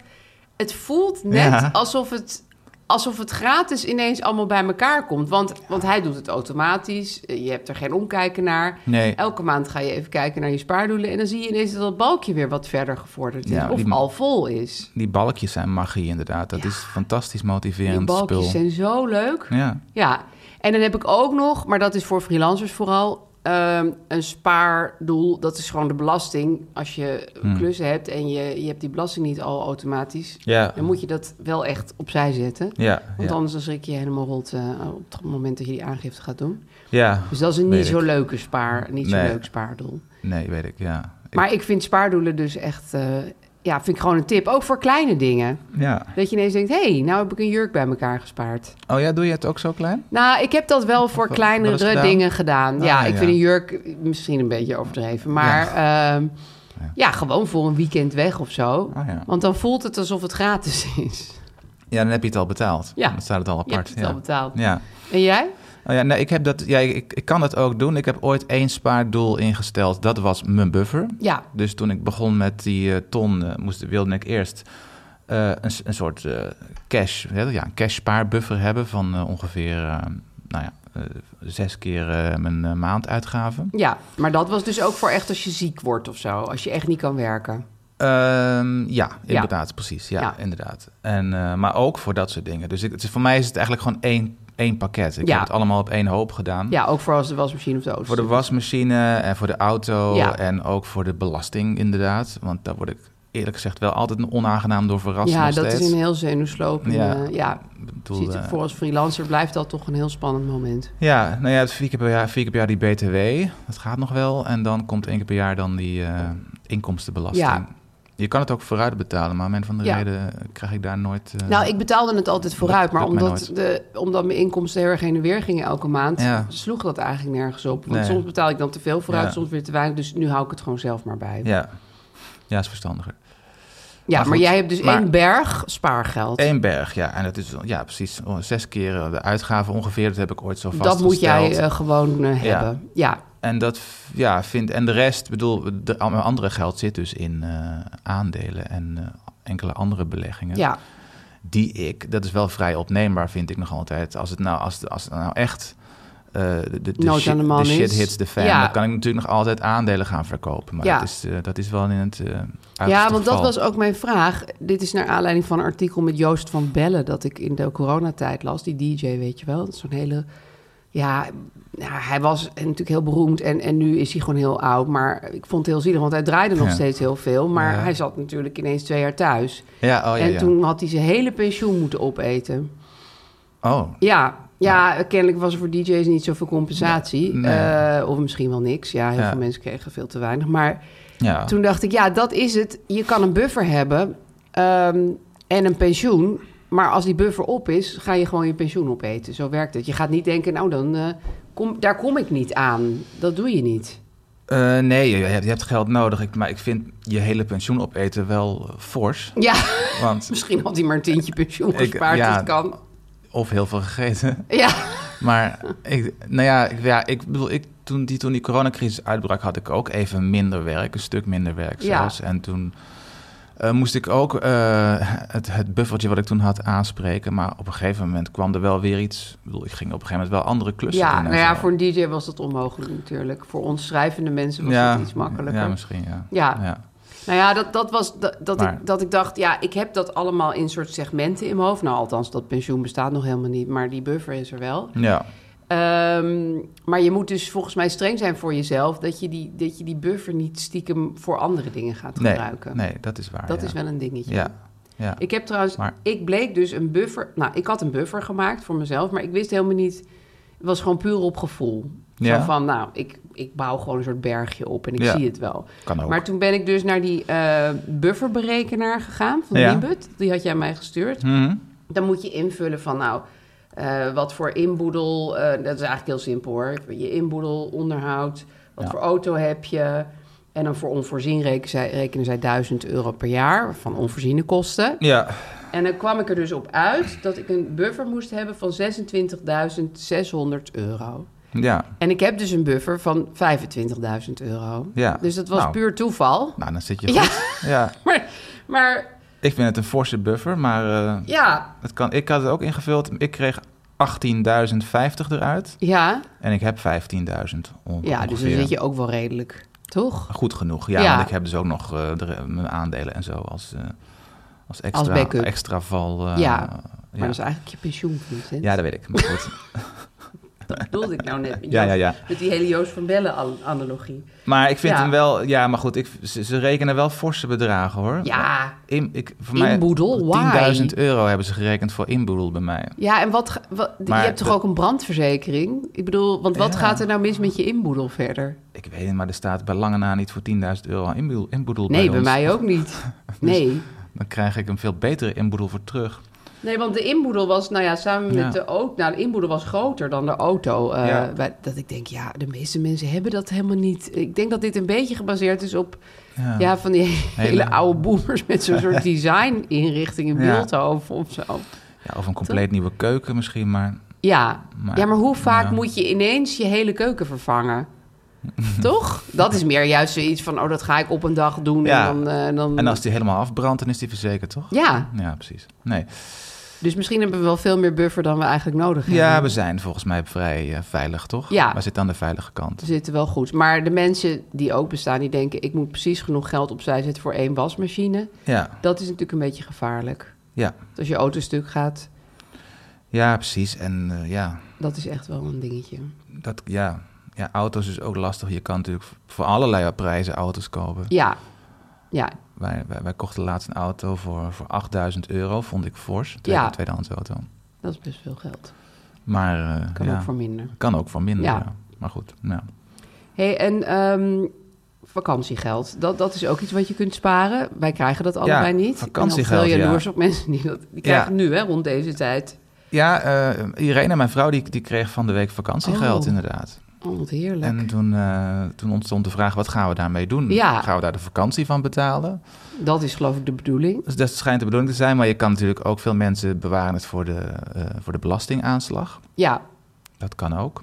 Speaker 3: het voelt net
Speaker 2: Ja.
Speaker 3: alsof het alsof het gratis ineens allemaal bij elkaar komt. Want, want hij doet het automatisch. Eh, Je hebt er geen omkijken naar.
Speaker 2: Nee.
Speaker 3: Elke maand ga je even kijken naar je spaardoelen. En dan zie je ineens dat dat balkje weer wat verder gevorderd is.
Speaker 2: Ja,
Speaker 3: of
Speaker 2: die-
Speaker 3: al vol is.
Speaker 2: Die balkjes zijn magie inderdaad. Dat is fantastisch
Speaker 3: Die
Speaker 2: motiverend
Speaker 3: balkjes
Speaker 2: spul.
Speaker 3: zijn zo leuk.
Speaker 2: Ja.
Speaker 3: Ja, en dan heb ik ook nog, maar dat is voor freelancers vooral, ehm, een spaardoel. Dat is gewoon de belasting. Als je
Speaker 2: Hmm.
Speaker 3: klussen hebt en je, je hebt die belasting niet al automatisch,
Speaker 2: Ja.
Speaker 3: dan moet je dat wel echt opzij zetten.
Speaker 2: Ja,
Speaker 3: Want
Speaker 2: ja.
Speaker 3: anders dan schrik je helemaal rot eh, op het moment dat je die aangifte gaat doen.
Speaker 2: ja.
Speaker 3: Dus dat is een
Speaker 2: Weet
Speaker 3: niet zo
Speaker 2: ik.
Speaker 3: leuke spaar, niet zo
Speaker 2: Nee.
Speaker 3: leuk spaardoel.
Speaker 2: Nee, weet ik, ja. Ik-
Speaker 3: Maar ik vind spaardoelen dus echt, eh, ja, vind ik gewoon een tip. Ook voor kleine dingen.
Speaker 2: ja.
Speaker 3: Dat je ineens denkt, hé, hey, nou heb ik een jurk bij elkaar gespaard.
Speaker 2: Oh ja, doe je het ook zo klein?
Speaker 3: Nou, ik heb dat wel voor
Speaker 2: wel
Speaker 3: kleinere
Speaker 2: eens gedaan?
Speaker 3: dingen gedaan.
Speaker 2: Ah,
Speaker 3: ja, ik
Speaker 2: ja.
Speaker 3: vind een jurk misschien een beetje overdreven. Maar ehm, ja. gewoon voor een weekend weg of zo.
Speaker 2: Ah, ja.
Speaker 3: Want dan voelt het alsof het gratis is.
Speaker 2: Ja, dan heb je het al betaald.
Speaker 3: Ja.
Speaker 2: Dan staat het al apart.
Speaker 3: Je hebt het
Speaker 2: ja.
Speaker 3: al betaald.
Speaker 2: Ja.
Speaker 3: En jij?
Speaker 2: Oh ja, nee, ik, heb dat, ja ik, ik kan dat ook doen. Ik heb ooit één spaardoel ingesteld. Dat was mijn buffer.
Speaker 3: Ja.
Speaker 2: Dus toen ik begon met die eh, ton, eh, moest, wilde ik eerst eh, een, s- een soort eh, cash, hè, ja, een cash spaarbuffer hebben van eh, ongeveer eh, nou ja, eh, zes keer eh, mijn eh, maanduitgaven.
Speaker 3: Ja, maar dat was dus ook voor echt als je ziek wordt of zo. Als je echt niet kan werken.
Speaker 2: Ehm, ja, inderdaad, precies. Ja,
Speaker 3: Ja.
Speaker 2: inderdaad. En, eh, maar ook voor dat soort dingen. Dus ik, het is- voor mij is het eigenlijk gewoon één, één pakket. Ik
Speaker 3: Ja.
Speaker 2: heb het allemaal op één hoop gedaan.
Speaker 3: Ja, ook voor als de wasmachine of de auto.
Speaker 2: Voor de wasmachine en voor de auto
Speaker 3: Ja.
Speaker 2: en ook voor de belasting inderdaad. Want daar word ik eerlijk gezegd wel altijd een onaangenaam door verrast
Speaker 3: Ja,
Speaker 2: nog
Speaker 3: dat
Speaker 2: steeds.
Speaker 3: is een heel zenuwslopende...
Speaker 2: Ja.
Speaker 3: Ja, ja.
Speaker 2: Ik bedoel,
Speaker 3: Ziet,
Speaker 2: eh,
Speaker 3: voor als freelancer blijft dat toch een heel spannend moment.
Speaker 2: Ja, nou ja, het vier keer per jaar, vier keer per jaar die BTW, dat gaat nog wel. En dan komt één keer per jaar dan die eh, inkomstenbelasting.
Speaker 3: Ja.
Speaker 2: Je kan het ook vooruit betalen, maar om een van de
Speaker 3: Ja.
Speaker 2: reden eh, krijg ik daar nooit... eh,
Speaker 3: Nou, ik betaalde het altijd vooruit,
Speaker 2: dat
Speaker 3: maar
Speaker 2: lukt mij
Speaker 3: omdat, de, omdat mijn inkomsten heel erg heen en weer gingen elke maand,
Speaker 2: Ja.
Speaker 3: sloeg dat eigenlijk nergens op. Want
Speaker 2: Nee.
Speaker 3: soms betaal ik dan te veel vooruit,
Speaker 2: Ja.
Speaker 3: soms weer te weinig. Dus nu hou ik het gewoon zelf maar bij. Ja,
Speaker 2: Ja. ja, is verstandiger.
Speaker 3: maar,
Speaker 2: maar goed,
Speaker 3: jij hebt dus
Speaker 2: maar-
Speaker 3: één berg spaargeld.
Speaker 2: Eén berg, ja. En dat is ja, precies oh, zes keer eh, de uitgaven ongeveer. Dat heb ik ooit zo
Speaker 3: Dat
Speaker 2: vastgesteld.
Speaker 3: moet jij eh, gewoon eh,
Speaker 2: Ja.
Speaker 3: hebben. Ja.
Speaker 2: En dat f- ja, vindt. En de rest, bedoel, de, al mijn andere geld zit dus in eh, aandelen en eh, enkele andere beleggingen.
Speaker 3: Ja.
Speaker 2: Die ik, dat is wel vrij opneembaar, vind ik nog altijd. Als het nou, als, het- als het nou echt. eh, de, de,
Speaker 3: Nood aan
Speaker 2: shit,
Speaker 3: de man
Speaker 2: shit
Speaker 3: is.
Speaker 2: hits de fan.
Speaker 3: Ja.
Speaker 2: Dan kan ik natuurlijk nog altijd aandelen gaan verkopen. Maar
Speaker 3: Ja.
Speaker 2: dat, is, eh, dat is wel in het. eh, uiterste
Speaker 3: ja, want dat
Speaker 2: geval.
Speaker 3: was ook mijn vraag. Dit is naar aanleiding van een artikel met Joost van Bellen... dat ik in de coronatijd las, die DJ, weet je wel. Dat is Zo'n hele... Ja, ja, hij was natuurlijk heel beroemd en, en nu is hij gewoon heel oud. Maar ik vond het heel zielig, want hij draaide nog
Speaker 2: Ja.
Speaker 3: steeds heel veel. Maar
Speaker 2: Ja.
Speaker 3: hij zat natuurlijk ineens twee jaar thuis.
Speaker 2: Ja, oh ja.
Speaker 3: en
Speaker 2: ja.
Speaker 3: toen had hij zijn hele pensioen moeten opeten.
Speaker 2: Oh,
Speaker 3: Ja, ja, kennelijk was er voor DJ's niet zoveel compensatie. Eh, of misschien wel niks. Ja, heel
Speaker 2: Ja.
Speaker 3: veel mensen kregen veel te weinig. Maar
Speaker 2: ja.
Speaker 3: toen dacht ik, ja, dat is het. Je kan een buffer hebben ehm, en een pensioen. Maar als die buffer op is, ga je gewoon je pensioen opeten. Zo werkt het. Je gaat niet denken, nou dan, eh, kom, daar kom ik niet aan. Dat doe je niet.
Speaker 2: Eh, nee, je je hebt, je hebt geld nodig. Ik, maar ik vind je hele pensioen opeten wel eh, fors.
Speaker 3: Ja,
Speaker 2: Want
Speaker 3: misschien had hij maar een tientje pensioen
Speaker 2: Ik-
Speaker 3: gespaard.
Speaker 2: ja.
Speaker 3: dat kan.
Speaker 2: of heel veel gegeten.
Speaker 3: Ja,
Speaker 2: Maar ik, nou ja, ik, ja, ik bedoel, ik, toen, die, toen die coronacrisis uitbrak, had ik ook even minder werk, een stuk minder werk
Speaker 3: Ja.
Speaker 2: zelfs. En toen eh, moest ik ook eh, het, het buffertje wat ik toen had aanspreken. Maar op een gegeven moment kwam er wel weer iets. Ik bedoel, ik ging op een gegeven moment wel andere klussen doen.
Speaker 3: ja
Speaker 2: en
Speaker 3: nou ja,
Speaker 2: zo.
Speaker 3: voor een DJ was dat onmogelijk natuurlijk. Voor ons schrijvende mensen was dat iets makkelijker.
Speaker 2: Ja, misschien, ja.
Speaker 3: Ja.
Speaker 2: ja.
Speaker 3: Nou ja, dat, dat was dat, dat,
Speaker 2: Maar-
Speaker 3: ik, dat ik dacht, ja, ik heb dat allemaal in soort segmenten in mijn hoofd. Nou, althans, dat pensioen bestaat nog helemaal niet, maar die buffer is er wel.
Speaker 2: Ja.
Speaker 3: Ehm, maar je moet dus volgens mij streng zijn voor jezelf dat je die, dat je die buffer niet stiekem voor andere dingen gaat
Speaker 2: Nee,
Speaker 3: gebruiken.
Speaker 2: nee, dat is waar.
Speaker 3: Dat
Speaker 2: ja.
Speaker 3: is wel een dingetje.
Speaker 2: Ja, ja.
Speaker 3: Ik heb trouwens,
Speaker 2: Maar-
Speaker 3: ik bleek dus een buffer. Nou, ik had een buffer gemaakt voor mezelf, maar ik wist helemaal niet. Het was gewoon puur op gevoel. Zo
Speaker 2: Ja.
Speaker 3: van, nou, ik, ik bouw gewoon een soort bergje op en ik
Speaker 2: Ja.
Speaker 3: zie het wel.
Speaker 2: Kan ook.
Speaker 3: Maar toen ben ik dus naar die eh, bufferberekenaar gegaan van
Speaker 2: Ja. Mhm.
Speaker 3: Libut. Die had jij mij gestuurd. Dan moet je invullen van, nou, eh, wat voor inboedel. eh, dat is eigenlijk heel simpel hoor. Je inboedel, onderhoud. Wat
Speaker 2: Ja.
Speaker 3: voor auto heb je? En dan voor onvoorzien rekenen zij, rekenen zij 1000 euro per jaar van onvoorziene kosten.
Speaker 2: Ja,
Speaker 3: En dan kwam ik er dus op uit dat ik een buffer moest hebben van 26.600 euro.
Speaker 2: ja.
Speaker 3: En ik heb dus een buffer van 25.000 euro.
Speaker 2: Ja.
Speaker 3: Dus dat was
Speaker 2: Nou.
Speaker 3: puur toeval.
Speaker 2: Nou, dan zit je
Speaker 3: Ja,
Speaker 2: goed. Ja.
Speaker 3: maar, maar
Speaker 2: Ik vind het een forse buffer, maar eh,
Speaker 3: Ja,
Speaker 2: het kan, ik had het ook ingevuld. Ik kreeg 18.050 eruit
Speaker 3: ja.
Speaker 2: en ik heb 15.000 on-
Speaker 3: ja dus dan
Speaker 2: ongeveer.
Speaker 3: zit je ook wel redelijk, toch?
Speaker 2: Goed genoeg, ja,
Speaker 3: Ja.
Speaker 2: Want ik heb dus ook nog eh, de- mijn aandelen en zo als, eh, als extra,
Speaker 3: backup.
Speaker 2: extra val. eh,
Speaker 3: Ja, Maar
Speaker 2: ja.
Speaker 3: dat is eigenlijk je pensioen, Vincent.
Speaker 2: Ja, dat weet ik. Maar goed.
Speaker 3: Dat bedoelde ik nou net. met
Speaker 2: Ja, ja,
Speaker 3: Joost-
Speaker 2: ja.
Speaker 3: Met die hele Joost van Bellen an- analogie.
Speaker 2: Maar ik vind
Speaker 3: Ja.
Speaker 2: hem wel... Ja, maar goed, ik, ze, ze rekenen wel forse bedragen, hoor.
Speaker 3: Ja.
Speaker 2: In, ik, voor
Speaker 3: Inboedel? Why?
Speaker 2: mij 10.000 euro hebben ze gerekend voor inboedel bij mij.
Speaker 3: Ja, en wat, ge- wat
Speaker 2: Maar
Speaker 3: je hebt toch
Speaker 2: dat-
Speaker 3: ook een brandverzekering? Ik bedoel, want wat
Speaker 2: Ja.
Speaker 3: gaat er nou mis met je inboedel verder?
Speaker 2: Ik weet het, maar er staat bij lange na niet voor 10.000 euro aan inboedel, inboedel
Speaker 3: Nee, bij
Speaker 2: ons.
Speaker 3: mij ook niet. Nee.
Speaker 2: Dan krijg ik een veel betere inboedel voor terug.
Speaker 3: Nee, want de inboedel was, nou ja, samen met
Speaker 2: Ja.
Speaker 3: de auto. Nou, de inboedel was groter dan de auto. eh,
Speaker 2: Ja.
Speaker 3: bij- dat ik denk, ja, de meeste mensen hebben dat helemaal niet. Ik denk dat dit een beetje gebaseerd is op ja. van die hele,
Speaker 2: Hele-
Speaker 3: oude boomers met zo'n soort design-inrichting in
Speaker 2: Ja.
Speaker 3: Beeldhoven of zo.
Speaker 2: Ja, of een compleet nieuwe keuken misschien, maar...
Speaker 3: Ja.
Speaker 2: Maar-
Speaker 3: ja, maar hoe vaak
Speaker 2: ja.
Speaker 3: moet je ineens je hele keuken vervangen? Toch? Dat is meer juist zoiets van, oh, dat ga ik op een dag doen.
Speaker 2: Ja.
Speaker 3: En dan, eh, dan...
Speaker 2: En als die helemaal afbrandt, dan is die verzekerd, toch?
Speaker 3: Ja,
Speaker 2: Ja, precies. Nee.
Speaker 3: dus misschien hebben we wel veel meer buffer dan we eigenlijk nodig hebben.
Speaker 2: Ja, we zijn volgens mij vrij eh, veilig, toch?
Speaker 3: Ja. Dus-
Speaker 2: We zitten aan de veilige kant.
Speaker 3: We zitten wel goed. Maar de mensen die ook bestaan, die denken... ik moet precies genoeg geld opzij zetten voor één wasmachine.
Speaker 2: Ja,
Speaker 3: Dat is natuurlijk een beetje gevaarlijk.
Speaker 2: ja.
Speaker 3: Want Als je auto stuk gaat,
Speaker 2: ja precies. En eh, ja,
Speaker 3: dat is echt wel een dingetje.
Speaker 2: dat, ja. ja, auto's is ook lastig. Je kan natuurlijk voor allerlei prijzen auto's kopen.
Speaker 3: Ja, ja.
Speaker 2: Wij, wij, wij kochten laatst een auto voor, voor 8000 euro, vond ik fors. Tweede,
Speaker 3: Ja.
Speaker 2: Tweedehands auto.
Speaker 3: dat is best veel geld.
Speaker 2: Maar eh,
Speaker 3: Kan
Speaker 2: ja,
Speaker 3: ook voor minder.
Speaker 2: kan ook voor minder.
Speaker 3: Ja.
Speaker 2: Ja. Maar goed, nou.
Speaker 3: hey, en ehm, vakantiegeld. Dat, dat is ook iets wat je kunt sparen. Wij krijgen dat allebei niet. Ik ben
Speaker 2: vakantiegeld,
Speaker 3: al veel
Speaker 2: ja.
Speaker 3: jaloers op mensen die dat die krijgen nu, hè, rond deze tijd.
Speaker 2: Ja, eh, Irene, mijn vrouw, die, die kreeg van de week vakantiegeld,
Speaker 3: Oh.
Speaker 2: inderdaad.
Speaker 3: Oh, wat heerlijk.
Speaker 2: En toen, eh, toen ontstond de vraag, wat gaan we daarmee doen?
Speaker 3: Ja.
Speaker 2: Gaan we daar de vakantie van betalen?
Speaker 3: Dat is geloof ik de bedoeling.
Speaker 2: Dus dat schijnt de bedoeling te zijn, maar je kan natuurlijk ook veel mensen bewaren het voor de, eh, voor de belastingaanslag.
Speaker 3: Ja,
Speaker 2: Dat kan ook.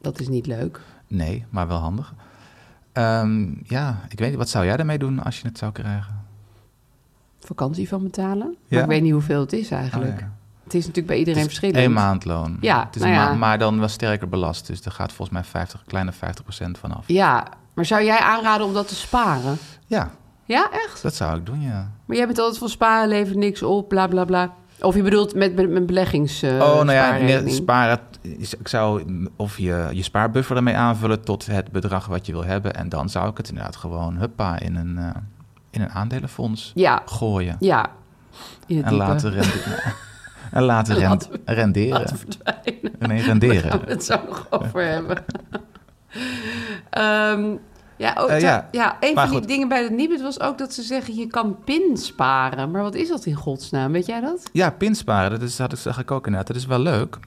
Speaker 3: dat is niet leuk.
Speaker 2: Nee, maar wel handig. Ehm, ja, ik weet niet, wat zou jij daarmee doen als je het zou krijgen?
Speaker 3: Vakantie van betalen. Maar
Speaker 2: Ja.
Speaker 3: ik weet niet hoeveel het is eigenlijk.
Speaker 2: Oh, ja.
Speaker 3: Het is natuurlijk bij iedereen
Speaker 2: Het is
Speaker 3: verschillend.
Speaker 2: Eén maandloon.
Speaker 3: Ja,
Speaker 2: het is
Speaker 3: nou
Speaker 2: een ma-
Speaker 3: ja.
Speaker 2: maar dan wel sterker belast. Dus daar gaat volgens mij 50, kleine 50% vanaf.
Speaker 3: Ja, maar zou jij aanraden om dat te sparen?
Speaker 2: Ja,
Speaker 3: Ja, echt?
Speaker 2: dat zou ik doen, ja.
Speaker 3: Maar jij bent altijd van sparen levert niks op, bla bla bla. Of je bedoelt met met mijn beleggings. eh,
Speaker 2: oh, nou ja,
Speaker 3: spaarrekening.
Speaker 2: net sparen. is- Ik zou mm, of je, je spaarbuffer ermee aanvullen tot het bedrag wat je wil hebben. En dan zou ik het inderdaad gewoon, huppa, in een, eh, in een aandelenfonds
Speaker 3: Ja,
Speaker 2: gooien.
Speaker 3: ja. eh, In het
Speaker 2: en
Speaker 3: diepe.
Speaker 2: laten, rende- en laten rend- renderen. nee, renderen.
Speaker 3: Gaan we het zo nog over hebben. Ehm, ja, oh, ta-
Speaker 2: Eh,
Speaker 3: ja.
Speaker 2: ja.
Speaker 3: een
Speaker 2: Maar
Speaker 3: van die
Speaker 2: goed.
Speaker 3: dingen bij het Nibud was ook dat ze zeggen... je kan pin sparen. Maar wat is dat in godsnaam? Weet jij dat?
Speaker 2: Ja, pinsparen, dat is, had ik, zag ik ook inderdaad. Dat is wel leuk.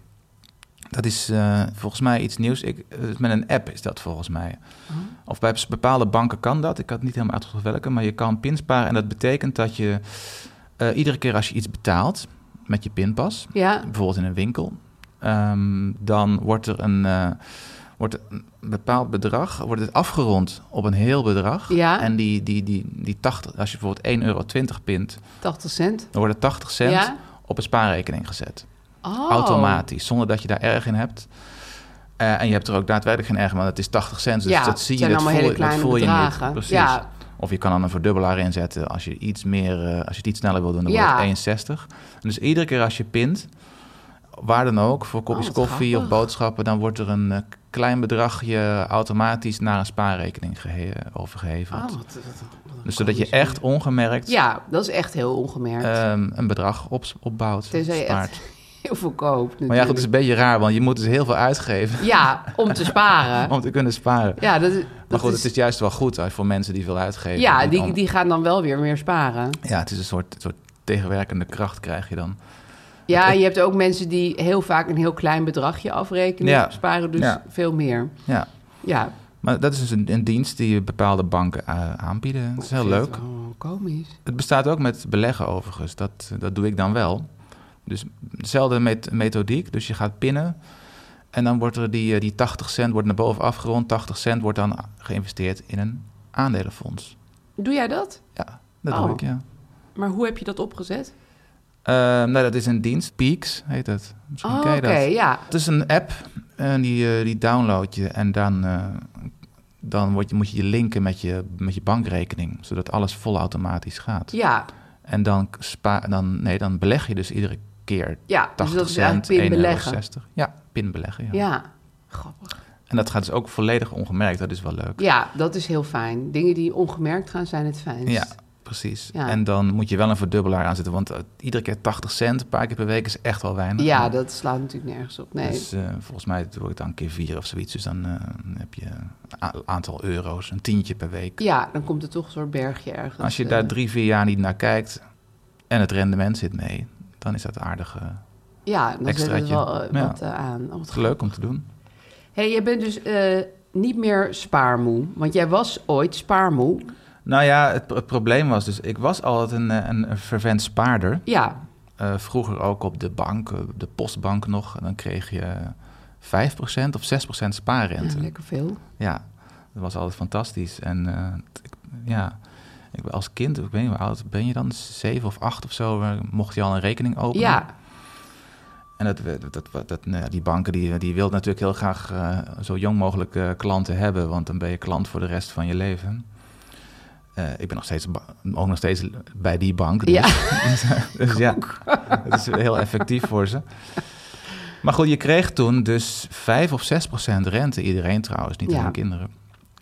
Speaker 2: Dat is eh, volgens mij iets nieuws. Ik, eh, met een app is dat volgens mij. Of bij bepaalde banken kan dat. Ik had niet helemaal uitgezocht welke. Maar je kan pinsparen. En dat betekent dat je eh, iedere keer als je iets betaalt met je pinpas...
Speaker 3: Ja,
Speaker 2: bijvoorbeeld in een winkel... ehm, dan wordt er een... eh, wordt een bepaald bedrag, wordt het afgerond op een heel bedrag.
Speaker 3: Ja.
Speaker 2: En die, die, die, die 80, als je bijvoorbeeld 1,20 euro pint,
Speaker 3: 80 cent.
Speaker 2: dan worden 80 cent
Speaker 3: Ja.
Speaker 2: op een spaarrekening gezet.
Speaker 3: Oh.
Speaker 2: Automatisch, zonder dat je daar erg in hebt. Eh, en je hebt er ook daadwerkelijk geen erg in, want het is 80 cent. Dus
Speaker 3: Ja,
Speaker 2: dat zie
Speaker 3: het zijn
Speaker 2: je, dat
Speaker 3: allemaal
Speaker 2: voel,
Speaker 3: hele
Speaker 2: je- dat
Speaker 3: kleine
Speaker 2: voel je
Speaker 3: bedragen.
Speaker 2: niet. Precies.
Speaker 3: Ja.
Speaker 2: Of je kan dan een verdubbelaar inzetten als je, iets meer, eh, als je het iets sneller wil doen, dan
Speaker 3: Ja.
Speaker 2: wordt het 61. En dus iedere keer als je pint, waar dan ook, voor kopjes
Speaker 3: Oh, wat
Speaker 2: koffie of
Speaker 3: grappig.
Speaker 2: boodschappen, dan wordt er een eh, klein bedragje automatisch naar een spaarrekening gehe- overgeheveld.
Speaker 3: Oh, wat- wat- wat een
Speaker 2: dus zodat je
Speaker 3: komisch.
Speaker 2: echt ongemerkt
Speaker 3: Ja, dat is echt heel ongemerkt.
Speaker 2: ehm, een bedrag op, opbouwt.
Speaker 3: Tenzij je
Speaker 2: spaart.
Speaker 3: echt heel veel koopt
Speaker 2: Maar ja, goed, het
Speaker 3: natuurlijk.
Speaker 2: is een beetje raar, want je moet dus heel veel uitgeven
Speaker 3: Ja, om te sparen.
Speaker 2: om te kunnen sparen.
Speaker 3: Ja, dat, is-
Speaker 2: maar
Speaker 3: dat
Speaker 2: goed,
Speaker 3: is...
Speaker 2: het is juist wel goed hè, voor mensen die veel uitgeven.
Speaker 3: Ja, die,
Speaker 2: om-
Speaker 3: die gaan dan wel weer meer sparen.
Speaker 2: ja het is een soort, soort tegenwerkende kracht krijg je dan.
Speaker 3: Ja,
Speaker 2: ik-
Speaker 3: je hebt ook mensen die heel vaak een heel klein bedragje afrekenen.
Speaker 2: Ja.
Speaker 3: Sparen dus
Speaker 2: Ja.
Speaker 3: veel meer.
Speaker 2: Ja,
Speaker 3: Ja.
Speaker 2: maar dat is dus een, een dienst die bepaalde banken eh, aanbieden. Dat is heel
Speaker 3: Ik vind
Speaker 2: leuk.
Speaker 3: het wel oh, komisch.
Speaker 2: Het bestaat ook met beleggen overigens. Dat, dat doe ik dan wel. Dus dezelfde met- methodiek. Dus je gaat pinnen. En dan wordt er die, eh, die 80 cent wordt naar boven afgerond. 80 cent wordt dan geïnvesteerd in een aandelenfonds.
Speaker 3: Doe jij dat?
Speaker 2: Ja, dat
Speaker 3: Oh.
Speaker 2: doe ik, ja.
Speaker 3: Maar hoe heb je dat opgezet?
Speaker 2: Eh, nou, dat is een dienst. Peaks heet het. Misschien
Speaker 3: Oh,
Speaker 2: ken
Speaker 3: oké,
Speaker 2: je dat.
Speaker 3: ja.
Speaker 2: Het is een app en die, eh, die download je en dan, eh, dan word je, moet je je linken met je, met je bankrekening, zodat alles volautomatisch gaat.
Speaker 3: Ja,
Speaker 2: En dan, spa, dan, nee, dan beleg je dus iedere keer
Speaker 3: ja.
Speaker 2: 80
Speaker 3: dus dat is
Speaker 2: cent,
Speaker 3: eigenlijk pin beleggen.
Speaker 2: 1,60 Ja, pin beleggen. Ja.
Speaker 3: Ja, grappig.
Speaker 2: En dat gaat dus ook volledig ongemerkt, dat is wel leuk.
Speaker 3: Ja, dat is heel fijn. Dingen die ongemerkt gaan zijn het fijnst.
Speaker 2: Ja, precies.
Speaker 3: Ja.
Speaker 2: En dan moet je wel een verdubbelaar aanzetten, want eh, iedere keer 80 cent, een paar keer per week is echt wel weinig.
Speaker 3: Ja, dat slaat natuurlijk nergens op. Nee.
Speaker 2: Dus eh, volgens mij doe ik dan keer vier of zoiets. Dus dan eh, heb je een a- aantal euro's, een tientje per week.
Speaker 3: Ja, dan komt er toch een soort bergje ergens.
Speaker 2: Als je
Speaker 3: eh,
Speaker 2: daar drie, vier jaar niet naar kijkt en het rendement zit mee, dan is dat aardig eh,
Speaker 3: Ja, dan zet het
Speaker 2: extraatje.
Speaker 3: wel eh,
Speaker 2: Ja.
Speaker 3: wat eh, aan. Oh, wat goed.
Speaker 2: leuk om te doen.
Speaker 3: hey, jij bent dus eh, niet meer spaarmoe. Want jij was ooit spaarmoe.
Speaker 2: Nou ja, het, pro- het probleem was dus, ik was altijd een, eh, een, een vervent spaarder.
Speaker 3: Ja,
Speaker 2: Eh, vroeger ook op de bank, eh, de postbank nog. En dan kreeg je 5% of 6%
Speaker 3: ja,
Speaker 2: spaarrente.
Speaker 3: lekker veel.
Speaker 2: Ja, dat was altijd fantastisch. En eh, t- ik- ja, ik, ben als kind, ik weet niet hoe oud ben je dan, zeven of acht of zo, eh, mocht je al een rekening openen.
Speaker 3: Ja,
Speaker 2: En dat, we- dat, dat, dat, nou ja, die banken die, die wilden natuurlijk heel graag eh, zo jong mogelijk eh, klanten hebben, want dan ben je klant voor de rest van je leven. Eh, ik ben nog steeds, ba- ook nog steeds bij die bank. Dus,
Speaker 3: Ja.
Speaker 2: dus ja, het is heel effectief voor ze. Maar goed, je kreeg toen dus 5 of 6 procent rente. Iedereen trouwens, niet
Speaker 3: Ja.
Speaker 2: alleen kinderen.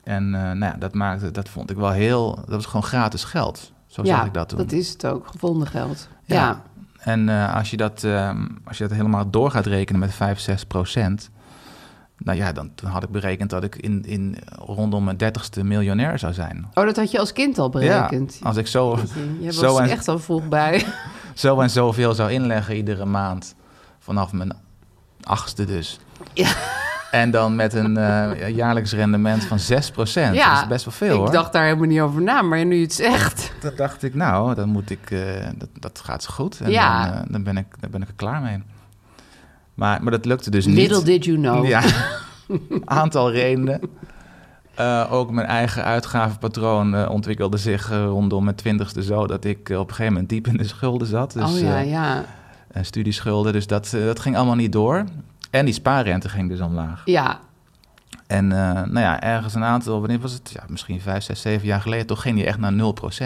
Speaker 2: En eh, nou ja, dat maakte, dat vond ik wel heel, dat was gewoon gratis geld. Zo
Speaker 3: ja
Speaker 2: zag ik dat toen.
Speaker 3: dat is het ook. Gevonden geld. Ja,
Speaker 2: Ja. En eh, als, je dat, ehm, als je dat helemaal door gaat rekenen met 5, 6 procent. Nou ja, dan, dan had ik berekend dat ik in, in rondom mijn dertigste miljonair zou zijn.
Speaker 3: Oh, dat had je als kind al berekend.
Speaker 2: Ja, als ik zo,
Speaker 3: Je was
Speaker 2: zo,
Speaker 3: er
Speaker 2: en,
Speaker 3: echt al vroeg bij.
Speaker 2: zo en zoveel zou inleggen iedere maand. Vanaf mijn achtste dus.
Speaker 3: Ja.
Speaker 2: En dan met een eh, jaarlijks rendement van 6 procent. Ja, dat is best wel veel
Speaker 3: ik
Speaker 2: hoor.
Speaker 3: dacht daar helemaal niet over na, maar nu je het zegt.
Speaker 2: Dan dacht ik, nou, dan moet ik, eh, dat, dat gaat zo goed. En
Speaker 3: Ja.
Speaker 2: dan, eh, dan, ben ik, dan ben ik er klaar mee. Maar, maar dat lukte dus niet.
Speaker 3: Little did you know.
Speaker 2: Ja, aantal redenen. Eh, ook mijn eigen uitgavenpatroon eh, ontwikkelde zich eh, rondom mijn twintigste zo... dat ik eh, op een gegeven moment diep in de schulden zat. Dus,
Speaker 3: oh ja,
Speaker 2: eh,
Speaker 3: ja.
Speaker 2: en studieschulden, dus dat, eh, dat ging allemaal niet door. En die spaarrente ging dus omlaag.
Speaker 3: Ja,
Speaker 2: En eh, nou ja, ergens een aantal, wanneer was het? Ja, misschien vijf, zes, zeven jaar geleden... toch ging die echt naar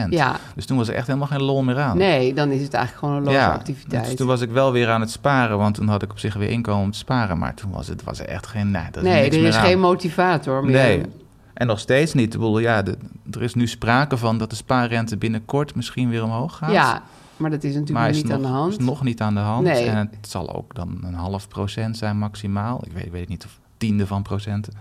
Speaker 2: 0%.
Speaker 3: ja.
Speaker 2: Dus toen was er echt helemaal geen lol meer aan.
Speaker 3: Nee, dan is het eigenlijk gewoon een loze activiteit.
Speaker 2: Dus toen was ik wel weer aan het sparen, want toen had ik op zich weer inkomen om te sparen. Maar toen was het was er echt geen. Nee, dat is
Speaker 3: nee,
Speaker 2: niks
Speaker 3: er
Speaker 2: meer
Speaker 3: is
Speaker 2: aan.
Speaker 3: geen motivator meer.
Speaker 2: Nee. En nog steeds niet. Ik bedoel, ja, de- er is nu sprake van dat de spaarrente binnenkort misschien weer omhoog gaat.
Speaker 3: Ja, maar dat is natuurlijk
Speaker 2: maar
Speaker 3: nog
Speaker 2: is
Speaker 3: niet
Speaker 2: nog,
Speaker 3: aan de hand.
Speaker 2: is nog niet aan de hand.
Speaker 3: Nee.
Speaker 2: En het zal ook dan een half procent zijn maximaal. Ik weet, ik weet niet of tiende van procenten.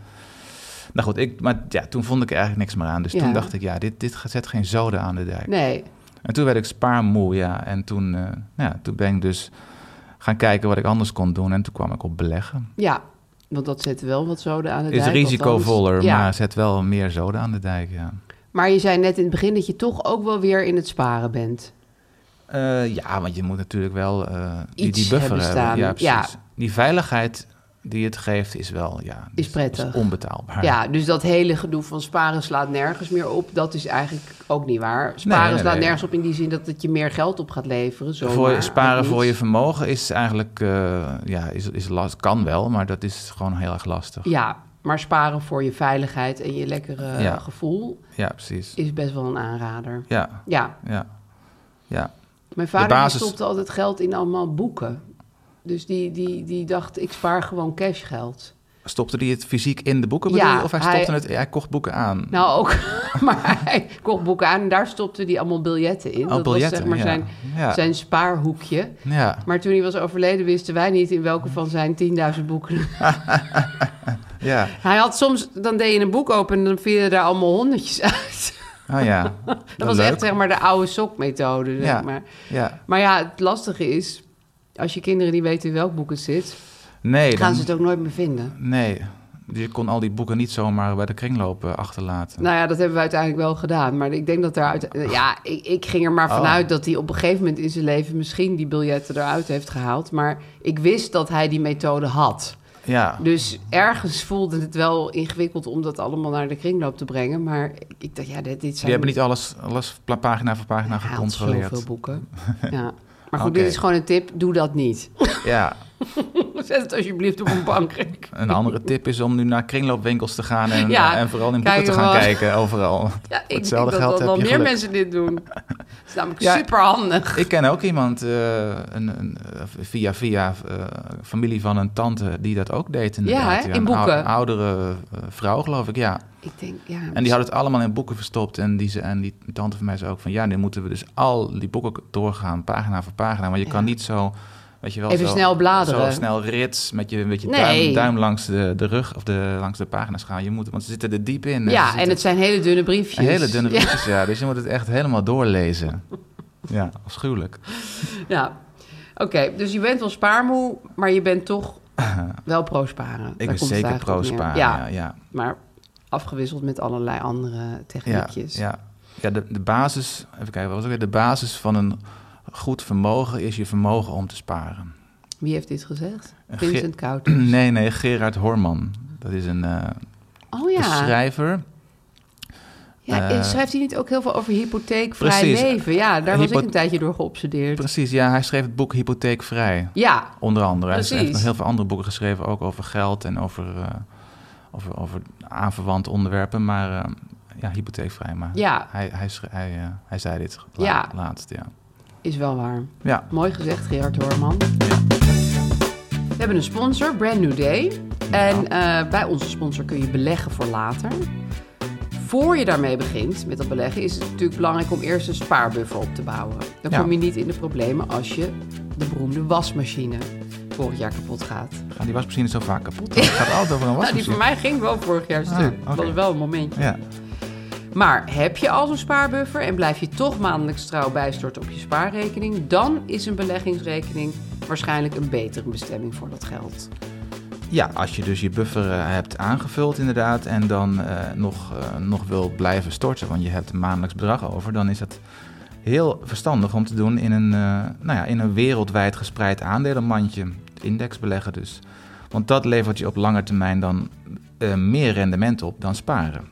Speaker 2: Nou goed, ik, maar ja, toen vond ik er eigenlijk niks meer aan. Dus
Speaker 3: Ja.
Speaker 2: toen dacht ik, ja, dit, dit zet geen zoden aan de dijk.
Speaker 3: Nee,
Speaker 2: En toen werd ik spaarmoe, ja. En toen, eh, nou ja, toen ben ik dus gaan kijken wat ik anders kon doen. En toen kwam ik op beleggen.
Speaker 3: ja, want dat zet wel wat zoden aan de
Speaker 2: Is
Speaker 3: dijk.
Speaker 2: risicovoller,
Speaker 3: althans. Ja.
Speaker 2: maar zet wel meer zoden aan de dijk, ja.
Speaker 3: Maar je zei net in het begin dat je toch ook wel weer in het sparen bent.
Speaker 2: Eh, ja, want je moet natuurlijk wel eh, die,
Speaker 3: Iets
Speaker 2: die buffer
Speaker 3: hebben
Speaker 2: hebben.
Speaker 3: staan,
Speaker 2: Ja, precies.
Speaker 3: ja.
Speaker 2: Die veiligheid die het geeft is wel, ja...
Speaker 3: Is prettig.
Speaker 2: onbetaalbaar.
Speaker 3: Ja, dus dat hele gedoe van sparen slaat nergens meer op. Dat is eigenlijk ook niet waar. Sparen
Speaker 2: nee,
Speaker 3: slaat
Speaker 2: nee.
Speaker 3: nergens op in die zin dat het je meer geld op gaat leveren. Zomaar,
Speaker 2: Voor, sparen
Speaker 3: uit
Speaker 2: voor je
Speaker 3: niets.
Speaker 2: vermogen is eigenlijk, eh, ja, is, is last, kan wel, maar dat is gewoon heel erg lastig.
Speaker 3: Ja, maar sparen voor je veiligheid en je lekkere
Speaker 2: Ja.
Speaker 3: gevoel
Speaker 2: Ja, precies.
Speaker 3: is best wel een aanrader.
Speaker 2: Ja,
Speaker 3: Ja,
Speaker 2: ja, ja.
Speaker 3: mijn vader
Speaker 2: De
Speaker 3: die
Speaker 2: basis-
Speaker 3: stopte altijd geld in allemaal boeken. Dus die, die, die dacht, ik spaar gewoon cashgeld.
Speaker 2: Stopte hij het fysiek in de boeken,
Speaker 3: Ja,
Speaker 2: bedoel je? Of hij
Speaker 3: hij-
Speaker 2: stopte het, hij kocht boeken aan?
Speaker 3: Nou, ook. maar hij kocht boeken aan en daar stopte hij allemaal biljetten in.
Speaker 2: Oh,
Speaker 3: dat
Speaker 2: biljetten,
Speaker 3: was zeg maar
Speaker 2: ja.
Speaker 3: zijn,
Speaker 2: Ja.
Speaker 3: zijn spaarhoekje.
Speaker 2: ja.
Speaker 3: Maar toen hij was overleden wisten wij niet in welke van zijn 10.000 boeken.
Speaker 2: ja.
Speaker 3: Hij had soms, dan deed je een boek open en dan vielen daar allemaal honderdjes uit.
Speaker 2: Oh ja.
Speaker 3: Dat was
Speaker 2: leuk.
Speaker 3: echt eh, zeg maar de oude sokmethode. Zeg
Speaker 2: Ja.
Speaker 3: maar.
Speaker 2: Ja.
Speaker 3: maar ja, het lastige is, als je kinderen niet weten in welk boek het zit,
Speaker 2: Nee,
Speaker 3: gaan
Speaker 2: dan,
Speaker 3: ze het ook nooit meer vinden.
Speaker 2: nee. Je kon al die boeken niet zomaar bij de kringloop eh, achterlaten.
Speaker 3: Nou ja, dat hebben we uiteindelijk wel gedaan. Maar ik denk dat daaruit. Ja, ik, ik ging er maar
Speaker 2: Oh.
Speaker 3: vanuit dat hij op een gegeven moment in zijn leven misschien die biljetten eruit heeft gehaald. Maar ik wist dat hij die methode had.
Speaker 2: Ja.
Speaker 3: Dus ergens voelde het wel ingewikkeld om dat allemaal naar de kringloop te brengen. Maar ik dacht, ja, dit, dit zijn...
Speaker 2: Die hebben niet alles, alles pla- pagina voor pagina
Speaker 3: Ja,
Speaker 2: gecontroleerd.
Speaker 3: zoveel boeken. Ja. Maar goed,
Speaker 2: Oké.
Speaker 3: dit is gewoon een tip. Doe dat niet.
Speaker 2: Ja.
Speaker 3: Zet het alsjeblieft op een bankrek.
Speaker 2: Een andere tip is om nu naar kringloopwinkels te gaan en,
Speaker 3: Ja,
Speaker 2: eh, en vooral in boeken
Speaker 3: kijken
Speaker 2: te gaan
Speaker 3: wat-
Speaker 2: kijken overal.
Speaker 3: Ja, ik denk
Speaker 2: Hetzelfde
Speaker 3: dat
Speaker 2: geld
Speaker 3: dat
Speaker 2: heb
Speaker 3: wel
Speaker 2: je
Speaker 3: meer
Speaker 2: geluk.
Speaker 3: mensen dit doen. Het is namelijk
Speaker 2: Ja.
Speaker 3: super handig.
Speaker 2: Ik ken ook iemand eh, een, een, eh, via via eh, familie van een tante die dat ook deed inderdaad.
Speaker 3: hè? In
Speaker 2: Ja, een ou-
Speaker 3: boeken.
Speaker 2: oudere eh, vrouw geloof ik, ja.
Speaker 3: Ik denk, ja.
Speaker 2: En die had het allemaal in boeken verstopt. En die, ze- en die tante van mij zei ook van... ja, nu moeten we dus al die boeken doorgaan, pagina voor pagina. Maar je
Speaker 3: Ja.
Speaker 2: kan niet zo... Weet je wel,
Speaker 3: Even
Speaker 2: zo,
Speaker 3: snel bladeren.
Speaker 2: Zo snel rits met je, met je
Speaker 3: Nee.
Speaker 2: duim, duim langs de, de rug of de, langs de pagina's gaan. Je moet, want ze zitten er diep in.
Speaker 3: ja, en
Speaker 2: Ze
Speaker 3: het
Speaker 2: zitten-
Speaker 3: zijn hele dunne briefjes.
Speaker 2: hele dunne
Speaker 3: Ja.
Speaker 2: briefjes, ja. Dus je moet het echt helemaal doorlezen. Ja, afschuwelijk.
Speaker 3: Ja. Oké, dus je bent wel spaarmoe, maar je bent toch wel pro-sparen. Daar komt
Speaker 2: Ik ben
Speaker 3: het
Speaker 2: zeker
Speaker 3: eigenlijk op neer.
Speaker 2: pro-sparen.
Speaker 3: Ja,
Speaker 2: Ja, ja,
Speaker 3: maar afgewisseld met allerlei andere
Speaker 2: ja,
Speaker 3: techniekjes.
Speaker 2: ja. ja de, de basis... Even kijken, wat was het ook weer? De basis van een goed vermogen is je vermogen om te sparen.
Speaker 3: Wie heeft dit gezegd?
Speaker 2: ge-
Speaker 3: Vincent Kout.
Speaker 2: Nee, nee, Gerard Horman. Dat is een eh,
Speaker 3: Oh ja.
Speaker 2: schrijver.
Speaker 3: ja
Speaker 2: eh,
Speaker 3: schrijft hij niet ook heel veel over hypotheekvrij
Speaker 2: Precies.
Speaker 3: leven? Ja, daar was
Speaker 2: Hypo-
Speaker 3: ik een tijdje door geobsedeerd.
Speaker 2: Precies, ja, hij schreef het boek Hypotheekvrij,
Speaker 3: Ja,
Speaker 2: onder andere. Hij
Speaker 3: Precies.
Speaker 2: heeft nog heel veel andere boeken geschreven, ook over geld en over, eh over, over aanverwante onderwerpen. Maar eh, ja, hypotheekvrij. Maar
Speaker 3: Ja.
Speaker 2: hij, hij, schre- hij, eh, hij zei dit la-
Speaker 3: Ja.
Speaker 2: laatst, ja.
Speaker 3: is wel waar.
Speaker 2: Ja,
Speaker 3: Mooi gezegd, Gerard Hoorman. We hebben een sponsor, Brand New Day. En eh, bij onze sponsor kun je beleggen voor later. Voor je daarmee begint met dat beleggen, is het natuurlijk belangrijk om eerst een spaarbuffer op te bouwen. Dan
Speaker 2: Ja.
Speaker 3: kom je niet in de problemen als je de beroemde wasmachine vorig jaar kapot gaat.
Speaker 2: Ja, die was misschien zo vaak kapot. Het gaat altijd over een
Speaker 3: Nou, die
Speaker 2: wasmachine.
Speaker 3: voor mij ging wel vorig jaar stuk.
Speaker 2: Ah, oké.
Speaker 3: Dat was wel een momentje.
Speaker 2: Ja,
Speaker 3: Maar heb je al zo'n spaarbuffer en blijf je toch maandelijks trouw bijstorten op je spaarrekening, dan is een beleggingsrekening waarschijnlijk een betere bestemming voor dat geld.
Speaker 2: Ja, als je dus je buffer eh, hebt aangevuld inderdaad en dan eh, nog, eh, nog wil blijven storten, want je hebt een maandelijks bedrag over, dan is het heel verstandig om te doen in een, eh, nou ja, in een wereldwijd gespreid aandelenmandje, indexbeleggen dus. Want dat levert je op lange termijn dan eh, meer rendement op dan sparen.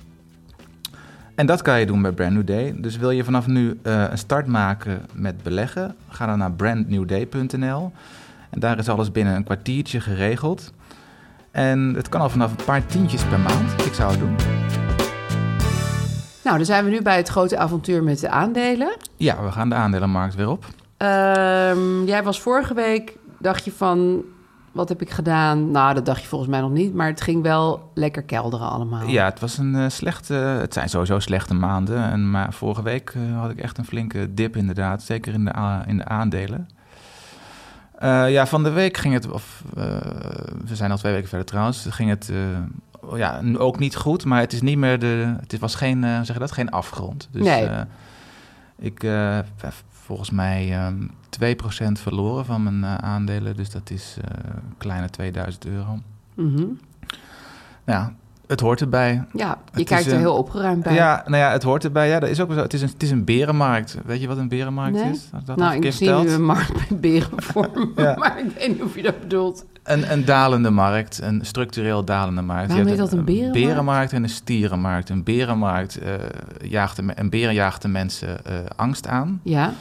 Speaker 2: En dat kan je doen bij Brand New Day. Dus wil je vanaf nu eh, een start maken met beleggen, ga dan naar brandnewday.nl. En daar is alles binnen een kwartiertje geregeld. En het kan al vanaf een paar tientjes per maand. Ik zou het doen.
Speaker 3: Nou, dan zijn we nu bij het grote avontuur met de aandelen.
Speaker 2: Ja, we gaan de aandelenmarkt weer op.
Speaker 3: Ehm, jij was vorige week, dacht je van, wat heb ik gedaan? Nou, dat dacht je volgens mij nog niet, maar het ging wel lekker kelderen allemaal.
Speaker 2: Ja, het was een eh, slechte... Het zijn sowieso slechte maanden. En, maar vorige week eh, had ik echt een flinke dip inderdaad. Zeker in de, a- in de aandelen. Eh, ja, van de week ging het... Of, eh, we zijn al twee weken verder trouwens. Ging het eh, ja, n- ook niet goed. Maar het is niet meer de... Het was geen, eh, hoe zeg je dat, geen afgrond. Dus,
Speaker 3: Nee.
Speaker 2: eh, ik eh, heb volgens mij eh 2% verloren van mijn eh, aandelen. Dus dat is eh, een kleine 2000 euro. Nou
Speaker 3: Mhm.
Speaker 2: Ja, het hoort erbij.
Speaker 3: ja je
Speaker 2: Het
Speaker 3: kijkt
Speaker 2: is,
Speaker 3: er
Speaker 2: eh,
Speaker 3: heel opgeruimd bij.
Speaker 2: Ja, nou ja, het hoort erbij. Ja, dat is ook zo. Het is een, het is een berenmarkt. Weet je wat een berenmarkt
Speaker 3: Nee.
Speaker 2: is? Had ik Dat al
Speaker 3: nou,
Speaker 2: een
Speaker 3: ik
Speaker 2: keer
Speaker 3: zie nu
Speaker 2: verteld.
Speaker 3: een markt met beren voor me,
Speaker 2: Ja.
Speaker 3: maar ik weet niet of je dat bedoelt.
Speaker 2: Een, een dalende markt, een structureel dalende markt.
Speaker 3: Waarom
Speaker 2: Je hebt
Speaker 3: heet dat een berenmarkt?
Speaker 2: en een stierenmarkt. Een berenmarkt eh, jaagt de, me- een beren jaagt de mensen eh, angst aan.
Speaker 3: Ja,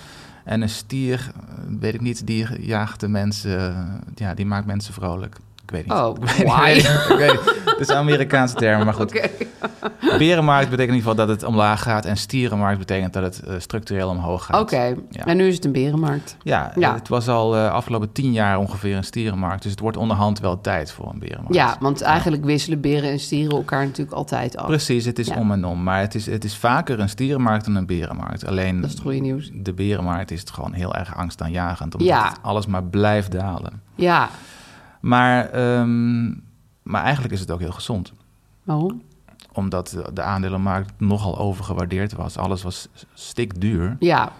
Speaker 2: En een stier, eh, weet ik niet, die jaagt de mensen, eh, ja, die maakt mensen vrolijk. Ik weet niet.
Speaker 3: Oh,
Speaker 2: Ik weet niet,
Speaker 3: why?
Speaker 2: ik weet niet. Ik weet niet. Het is een Amerikaanse term, maar goed.
Speaker 3: oké.
Speaker 2: Berenmarkt betekent in ieder geval dat het omlaag gaat. En stierenmarkt betekent dat het eh, structureel omhoog gaat.
Speaker 3: Oké,
Speaker 2: Ja.
Speaker 3: en nu is het een berenmarkt.
Speaker 2: Ja,
Speaker 3: Ja.
Speaker 2: het was al eh, afgelopen tien jaar ongeveer een stierenmarkt. Dus het wordt onderhand wel tijd voor een berenmarkt.
Speaker 3: Ja, want eigenlijk wisselen beren en stieren elkaar natuurlijk altijd af.
Speaker 2: Precies, het is
Speaker 3: Ja.
Speaker 2: om en om. Maar het is, het is vaker een stierenmarkt dan een berenmarkt. Alleen
Speaker 3: Dat is het goede nieuws.
Speaker 2: de berenmarkt is het gewoon heel erg angstaanjagend. Omdat
Speaker 3: Ja.
Speaker 2: het alles maar blijft dalen.
Speaker 3: Ja,
Speaker 2: Maar, ehm, maar eigenlijk is het ook heel gezond.
Speaker 3: waarom?
Speaker 2: Omdat de- de aandelenmarkt nogal overgewaardeerd was. Alles was stikduur.
Speaker 3: Ja,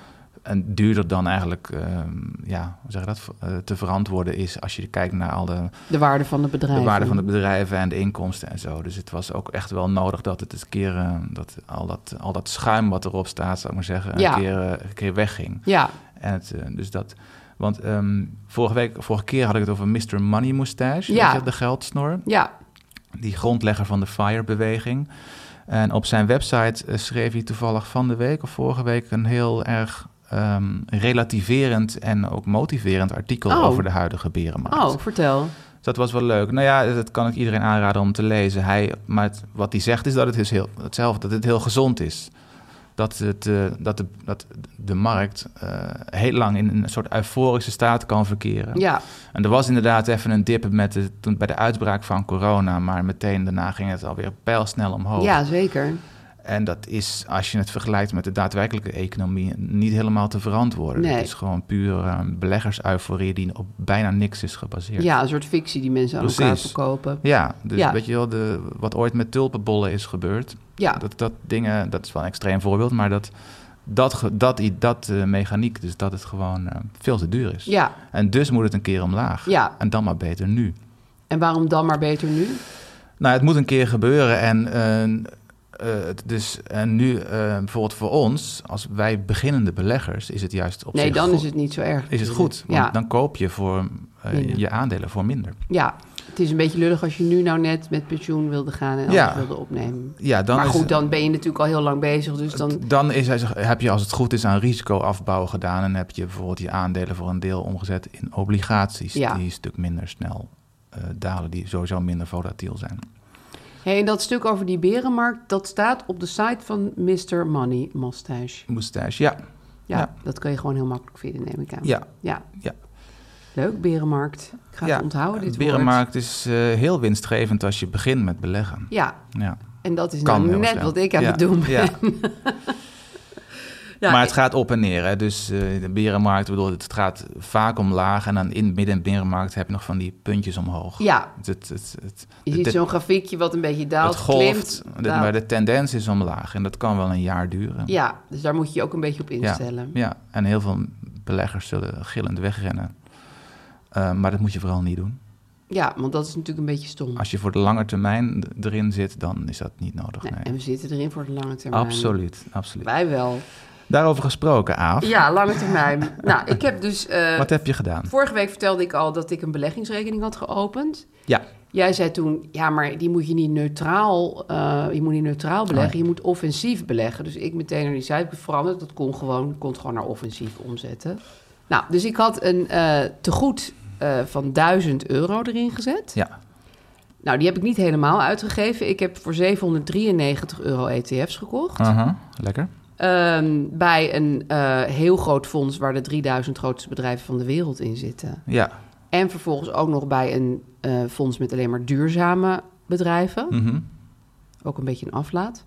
Speaker 2: En duurder dan eigenlijk ehm, ja, hoe zeg je dat, eh, te verantwoorden is als je kijkt naar al de,
Speaker 3: de waarde van de
Speaker 2: de
Speaker 3: bedrijven.
Speaker 2: waarde van de bedrijven en de inkomsten en zo. Dus het was ook echt wel nodig dat het eens een keer eh, dat al, dat, al dat schuim wat erop staat, zou ik maar zeggen,
Speaker 3: Ja.
Speaker 2: een, keer, eh, een keer wegging.
Speaker 3: Ja,
Speaker 2: En het, eh, dus dat, Want ehm, vorige, week, vorige keer had ik het over Mr. Money Moustache.
Speaker 3: Ja.
Speaker 2: Weet je, dat, de geldsnor.
Speaker 3: Ja,
Speaker 2: Die grondlegger van de FIRE-beweging. En op zijn website eh, schreef hij toevallig van de week of vorige week een heel erg ehm, relativerend en ook motiverend artikel
Speaker 3: Oh.
Speaker 2: over de huidige berenmarkt.
Speaker 3: oh, vertel.
Speaker 2: Dus dat was wel leuk. Nou ja, dat kan ik iedereen aanraden om te lezen. Hij, maar het- wat hij zegt is dat het dus heel, hetzelfde, dat het heel gezond is. Dat, het, eh, dat, de, dat de markt eh, heel lang in een soort euforische staat kan verkeren.
Speaker 3: Ja,
Speaker 2: En er was inderdaad even een dip met de, toen, bij de uitbraak van corona. Maar meteen daarna ging het alweer pijlsnel omhoog.
Speaker 3: ja zeker.
Speaker 2: En dat is, als je het vergelijkt met de daadwerkelijke economie, niet helemaal te verantwoorden.
Speaker 3: Nee.
Speaker 2: Het is gewoon puur eh, beleggers-euforie die op bijna niks is gebaseerd.
Speaker 3: Ja, een soort fictie die mensen aan elkaar
Speaker 2: Precies.
Speaker 3: verkopen.
Speaker 2: Ja, dus
Speaker 3: Ja.
Speaker 2: weet je wel, de, wat ooit met tulpenbollen is gebeurd.
Speaker 3: Ja,
Speaker 2: Dat, dat dingen, dat is wel een extreem voorbeeld, maar dat, dat, ge- dat, i- dat eh, mechaniek, dus dat het gewoon eh, veel te duur is.
Speaker 3: ja.
Speaker 2: En dus moet het een keer omlaag.
Speaker 3: Ja.
Speaker 2: En dan maar beter nu.
Speaker 3: En waarom dan maar beter nu?
Speaker 2: Nou, het moet een keer gebeuren. En, eh, eh, het- dus, en nu, eh, bijvoorbeeld voor ons, als wij beginnende beleggers, is het juist op
Speaker 3: Nee,
Speaker 2: zich
Speaker 3: dan
Speaker 2: go-
Speaker 3: is het niet zo erg.
Speaker 2: is het
Speaker 3: natuurlijk.
Speaker 2: goed. Want
Speaker 3: Ja,
Speaker 2: dan koop je voor eh,
Speaker 3: Minder.
Speaker 2: je aandelen voor minder.
Speaker 3: ja, het is een beetje lullig als je nu nou net met pensioen wilde gaan en alles
Speaker 2: Ja.
Speaker 3: wilde opnemen.
Speaker 2: Ja, dan
Speaker 3: maar
Speaker 2: is-
Speaker 3: goed, dan ben je natuurlijk al heel lang bezig, dus dan...
Speaker 2: Dan is, hij- heb je, als het goed is, aan risicoafbouw gedaan. En heb je bijvoorbeeld je aandelen voor een deel omgezet in obligaties.
Speaker 3: Ja.
Speaker 2: Die een stuk minder snel eh, dalen, die sowieso minder volatiel zijn.
Speaker 3: Hey, en dat stuk over die berenmarkt, dat staat op de site van Mr. Money Mustache.
Speaker 2: Moustache, ja.
Speaker 3: Ja,
Speaker 2: Ja.
Speaker 3: dat kun je gewoon heel makkelijk vinden, neem ik aan.
Speaker 2: Ja.
Speaker 3: Ja.
Speaker 2: Ja.
Speaker 3: Leuk, berenmarkt. Ik ga
Speaker 2: ja.
Speaker 3: het onthouden, dit
Speaker 2: De berenmarkt is eh, heel winstgevend als je begint met beleggen.
Speaker 3: woord. Ja,
Speaker 2: Ja.
Speaker 3: en dat is
Speaker 2: Kan
Speaker 3: nou
Speaker 2: heel
Speaker 3: net
Speaker 2: snel.
Speaker 3: wat ik aan
Speaker 2: Ja.
Speaker 3: het doen ben.
Speaker 2: Ja.
Speaker 3: Ja,
Speaker 2: maar het gaat op en neer. Hè. Dus eh, de berenmarkt, ik bedoel, het gaat vaak omlaag. En dan in het midden- en berenmarkt heb je nog van die puntjes omhoog.
Speaker 3: Ja.
Speaker 2: Het, het, het, het,
Speaker 3: je
Speaker 2: het-
Speaker 3: ziet zo'n grafiekje wat een beetje daalt,
Speaker 2: het golft,
Speaker 3: klimt.
Speaker 2: dit-
Speaker 3: daalt.
Speaker 2: maar de tendens is omlaag. En dat kan wel een jaar duren.
Speaker 3: Ja, dus daar moet je je ook een beetje op
Speaker 2: Ja,
Speaker 3: instellen.
Speaker 2: Ja, en heel veel beleggers zullen gillend wegrennen. Eh, maar dat moet je vooral niet doen.
Speaker 3: Mm. Ja, want dat is natuurlijk een beetje stom.
Speaker 2: Als je voor de lange termijn d- erin zit, dan is dat niet nodig.
Speaker 3: Nee,
Speaker 2: Nee.
Speaker 3: En we zitten erin voor de lange termijn.
Speaker 2: Absoluut, absoluut.
Speaker 3: Wij wel.
Speaker 2: Daarover gesproken, Aaf.
Speaker 3: Ja, lange termijn. nou, ik heb dus... eh,
Speaker 2: Wat heb je gedaan?
Speaker 3: Vorige week vertelde ik al dat ik een beleggingsrekening had geopend.
Speaker 2: Ja,
Speaker 3: Jij zei toen, ja, maar die moet je niet neutraal, eh, je moet niet neutraal beleggen, je moet offensief beleggen. Dus ik meteen naar die site heb ik veranderd. Dat kon gewoon, ik kon het gewoon naar offensief omzetten. Nou, dus ik had een eh tegoed eh, van 1000 euro erin gezet.
Speaker 2: ja.
Speaker 3: Nou, die heb ik niet helemaal uitgegeven. Ik heb voor 793 euro ETF's gekocht.
Speaker 2: Aha, Uh-huh. lekker.
Speaker 3: Ehm, bij een eh, heel groot fonds waar de 3000 grootste bedrijven van de wereld in zitten.
Speaker 2: Ja,
Speaker 3: En vervolgens ook nog bij een eh, fonds met alleen maar duurzame bedrijven.
Speaker 2: mhm,
Speaker 3: Ook een beetje een aflaat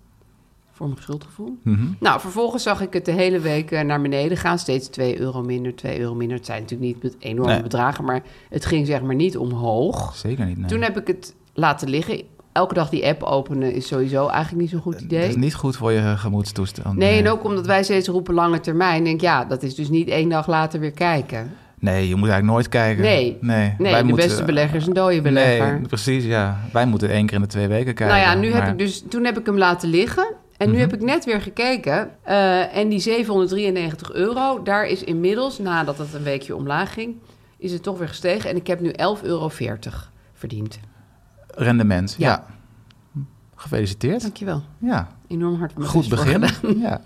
Speaker 3: voor mijn schuldgevoel.
Speaker 2: mhm.
Speaker 3: Nou, vervolgens zag ik het de hele week eh, naar beneden gaan. Steeds 2 euro minder, 2 euro minder. Het zijn natuurlijk niet met enorme
Speaker 2: Nee.
Speaker 3: bedragen, maar het ging zeg maar niet omhoog.
Speaker 2: zeker niet. Nee.
Speaker 3: Toen heb ik het laten liggen. Elke dag die app openen is sowieso eigenlijk niet zo'n goed idee.
Speaker 2: Eh, Dat is niet goed voor je gemoedstoestand.
Speaker 3: Nee, en ook omdat wij steeds roepen lange termijn. Denk ik, ja, dat is dus niet één dag later weer kijken.
Speaker 2: Nee, je moet eigenlijk nooit kijken.
Speaker 3: Nee,
Speaker 2: nee.
Speaker 3: Nee,
Speaker 2: wij
Speaker 3: de
Speaker 2: moeten-
Speaker 3: beste belegger is een dode belegger.
Speaker 2: Nee, precies, ja. Wij moeten één keer in de twee weken kijken.
Speaker 3: nou ja, nu heb
Speaker 2: maar- Mhm.
Speaker 3: ik dus, toen heb ik hem laten liggen. En nu heb ik net weer gekeken. eh, en die 793 euro, daar is inmiddels, nadat het een weekje omlaag ging, is het toch weer gestegen. En ik heb nu 11,40 euro verdiend.
Speaker 2: Rendement, ja.
Speaker 3: dus- Ja.
Speaker 2: Gefeliciteerd.
Speaker 3: Dankjewel.
Speaker 2: Ja,
Speaker 3: Enorm hard mijn
Speaker 2: goed
Speaker 3: best voor
Speaker 2: begin.
Speaker 3: gedaan.
Speaker 2: Ja.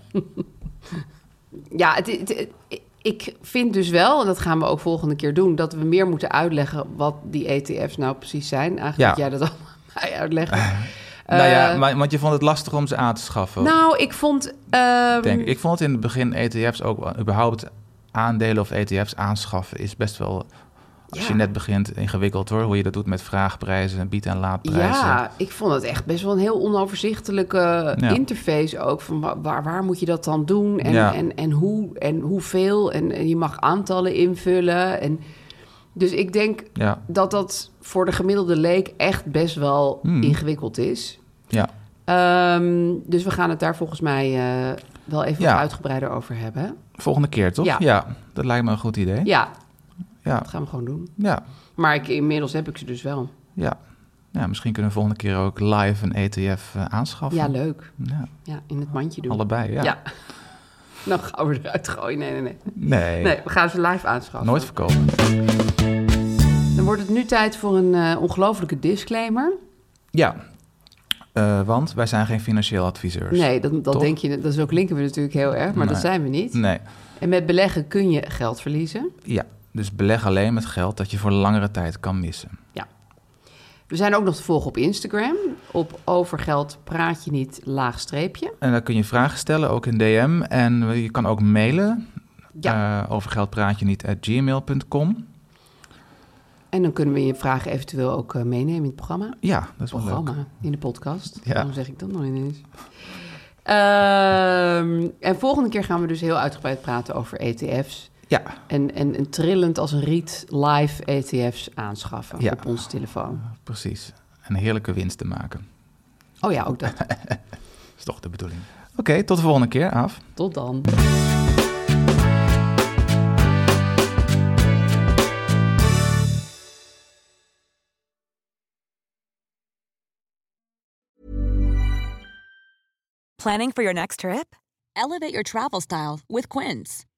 Speaker 3: Ja, het, het- het- ik vind dus wel, en dat gaan we ook volgende keer doen, dat we meer moeten uitleggen wat die ETF's nou precies zijn. Eigenlijk
Speaker 2: Ja.
Speaker 3: jij dat allemaal aan mij uitleggen.
Speaker 2: nou ja,
Speaker 3: Eh,
Speaker 2: maar, want je vond het lastig om ze aan te schaffen,
Speaker 3: Nou, ik vond. ehm,
Speaker 2: denk ik. Ik vond het in het begin ETF's ook wel- überhaupt aandelen of ETF's aanschaffen is best wel, als
Speaker 3: Ja.
Speaker 2: je net begint, ingewikkeld hoor. Hoe je dat doet met vraagprijzen en bied- en laadprijzen.
Speaker 3: Ja, ik vond het echt best wel een heel onoverzichtelijke eh, interface ook. Van wa- waar, waar moet je dat dan doen en,
Speaker 2: Ja.
Speaker 3: en, en hoe en hoeveel. En, en je mag aantallen invullen. En, dus ik denk
Speaker 2: Ja,
Speaker 3: dat dat voor de gemiddelde leek echt best wel
Speaker 2: Hmm.
Speaker 3: ingewikkeld is.
Speaker 2: ja.
Speaker 3: Ehm, dus we gaan het daar volgens mij eh, wel even
Speaker 2: Ja.
Speaker 3: wat uitgebreider over hebben. hè?
Speaker 2: Volgende keer, toch?
Speaker 3: Ja.
Speaker 2: dat lijkt me een goed idee.
Speaker 3: Ja,
Speaker 2: Ja,
Speaker 3: dat gaan we gewoon doen.
Speaker 2: ja,
Speaker 3: Maar ik, inmiddels heb ik ze dus wel.
Speaker 2: ja. Ja, misschien kunnen we volgende keer ook live een ETF eh, aanschaffen.
Speaker 3: Ja, leuk.
Speaker 2: Ja,
Speaker 3: Ja, in het mandje doen.
Speaker 2: allebei, ja.
Speaker 3: Ja. Dan gaan we eruit gooien. Nee, nee, nee.
Speaker 2: Nee,
Speaker 3: Nee, we gaan ze live aanschaffen.
Speaker 2: nooit verkopen.
Speaker 3: Dan wordt het nu tijd voor een eh, ongelofelijke disclaimer.
Speaker 2: Ja, Eh, want wij zijn geen financieel adviseurs.
Speaker 3: Nee, dat, dat
Speaker 2: Toch?
Speaker 3: denk je, dat is ook linken we natuurlijk heel erg, maar dat
Speaker 2: Nee.
Speaker 3: zijn we niet.
Speaker 2: Nee,
Speaker 3: En met beleggen kun je geld verliezen.
Speaker 2: ja. Dus beleg alleen met geld dat je voor langere tijd kan missen.
Speaker 3: We zijn ook nog te volgen op Instagram. Op over geld praat je niet, laagstreepje.
Speaker 2: En daar kun je vragen stellen, ook in DM. En je kan ook mailen.
Speaker 3: Ja.
Speaker 2: eh, over geld praat je niet at gmail.com.
Speaker 3: En dan kunnen we je vragen eventueel ook eh, meenemen in het programma.
Speaker 2: Ja, dat is wel leuk.
Speaker 3: programma in de podcast.
Speaker 2: Ja.
Speaker 3: Waarom zeg ik dat nog ineens? Ehm, en volgende keer gaan we dus heel uitgebreid praten over E ETF's.
Speaker 2: Ja,
Speaker 3: En, en, en trillend als een riet live ETF's aanschaffen
Speaker 2: Ja.
Speaker 3: op onze telefoon.
Speaker 2: precies. En heerlijke winst te maken.
Speaker 3: Oh ja, ook dat.
Speaker 2: is toch de bedoeling. Oké, tot de volgende keer, Af.
Speaker 3: Tot dan.
Speaker 4: Planning for your next trip? Elevate your travel style with Quince.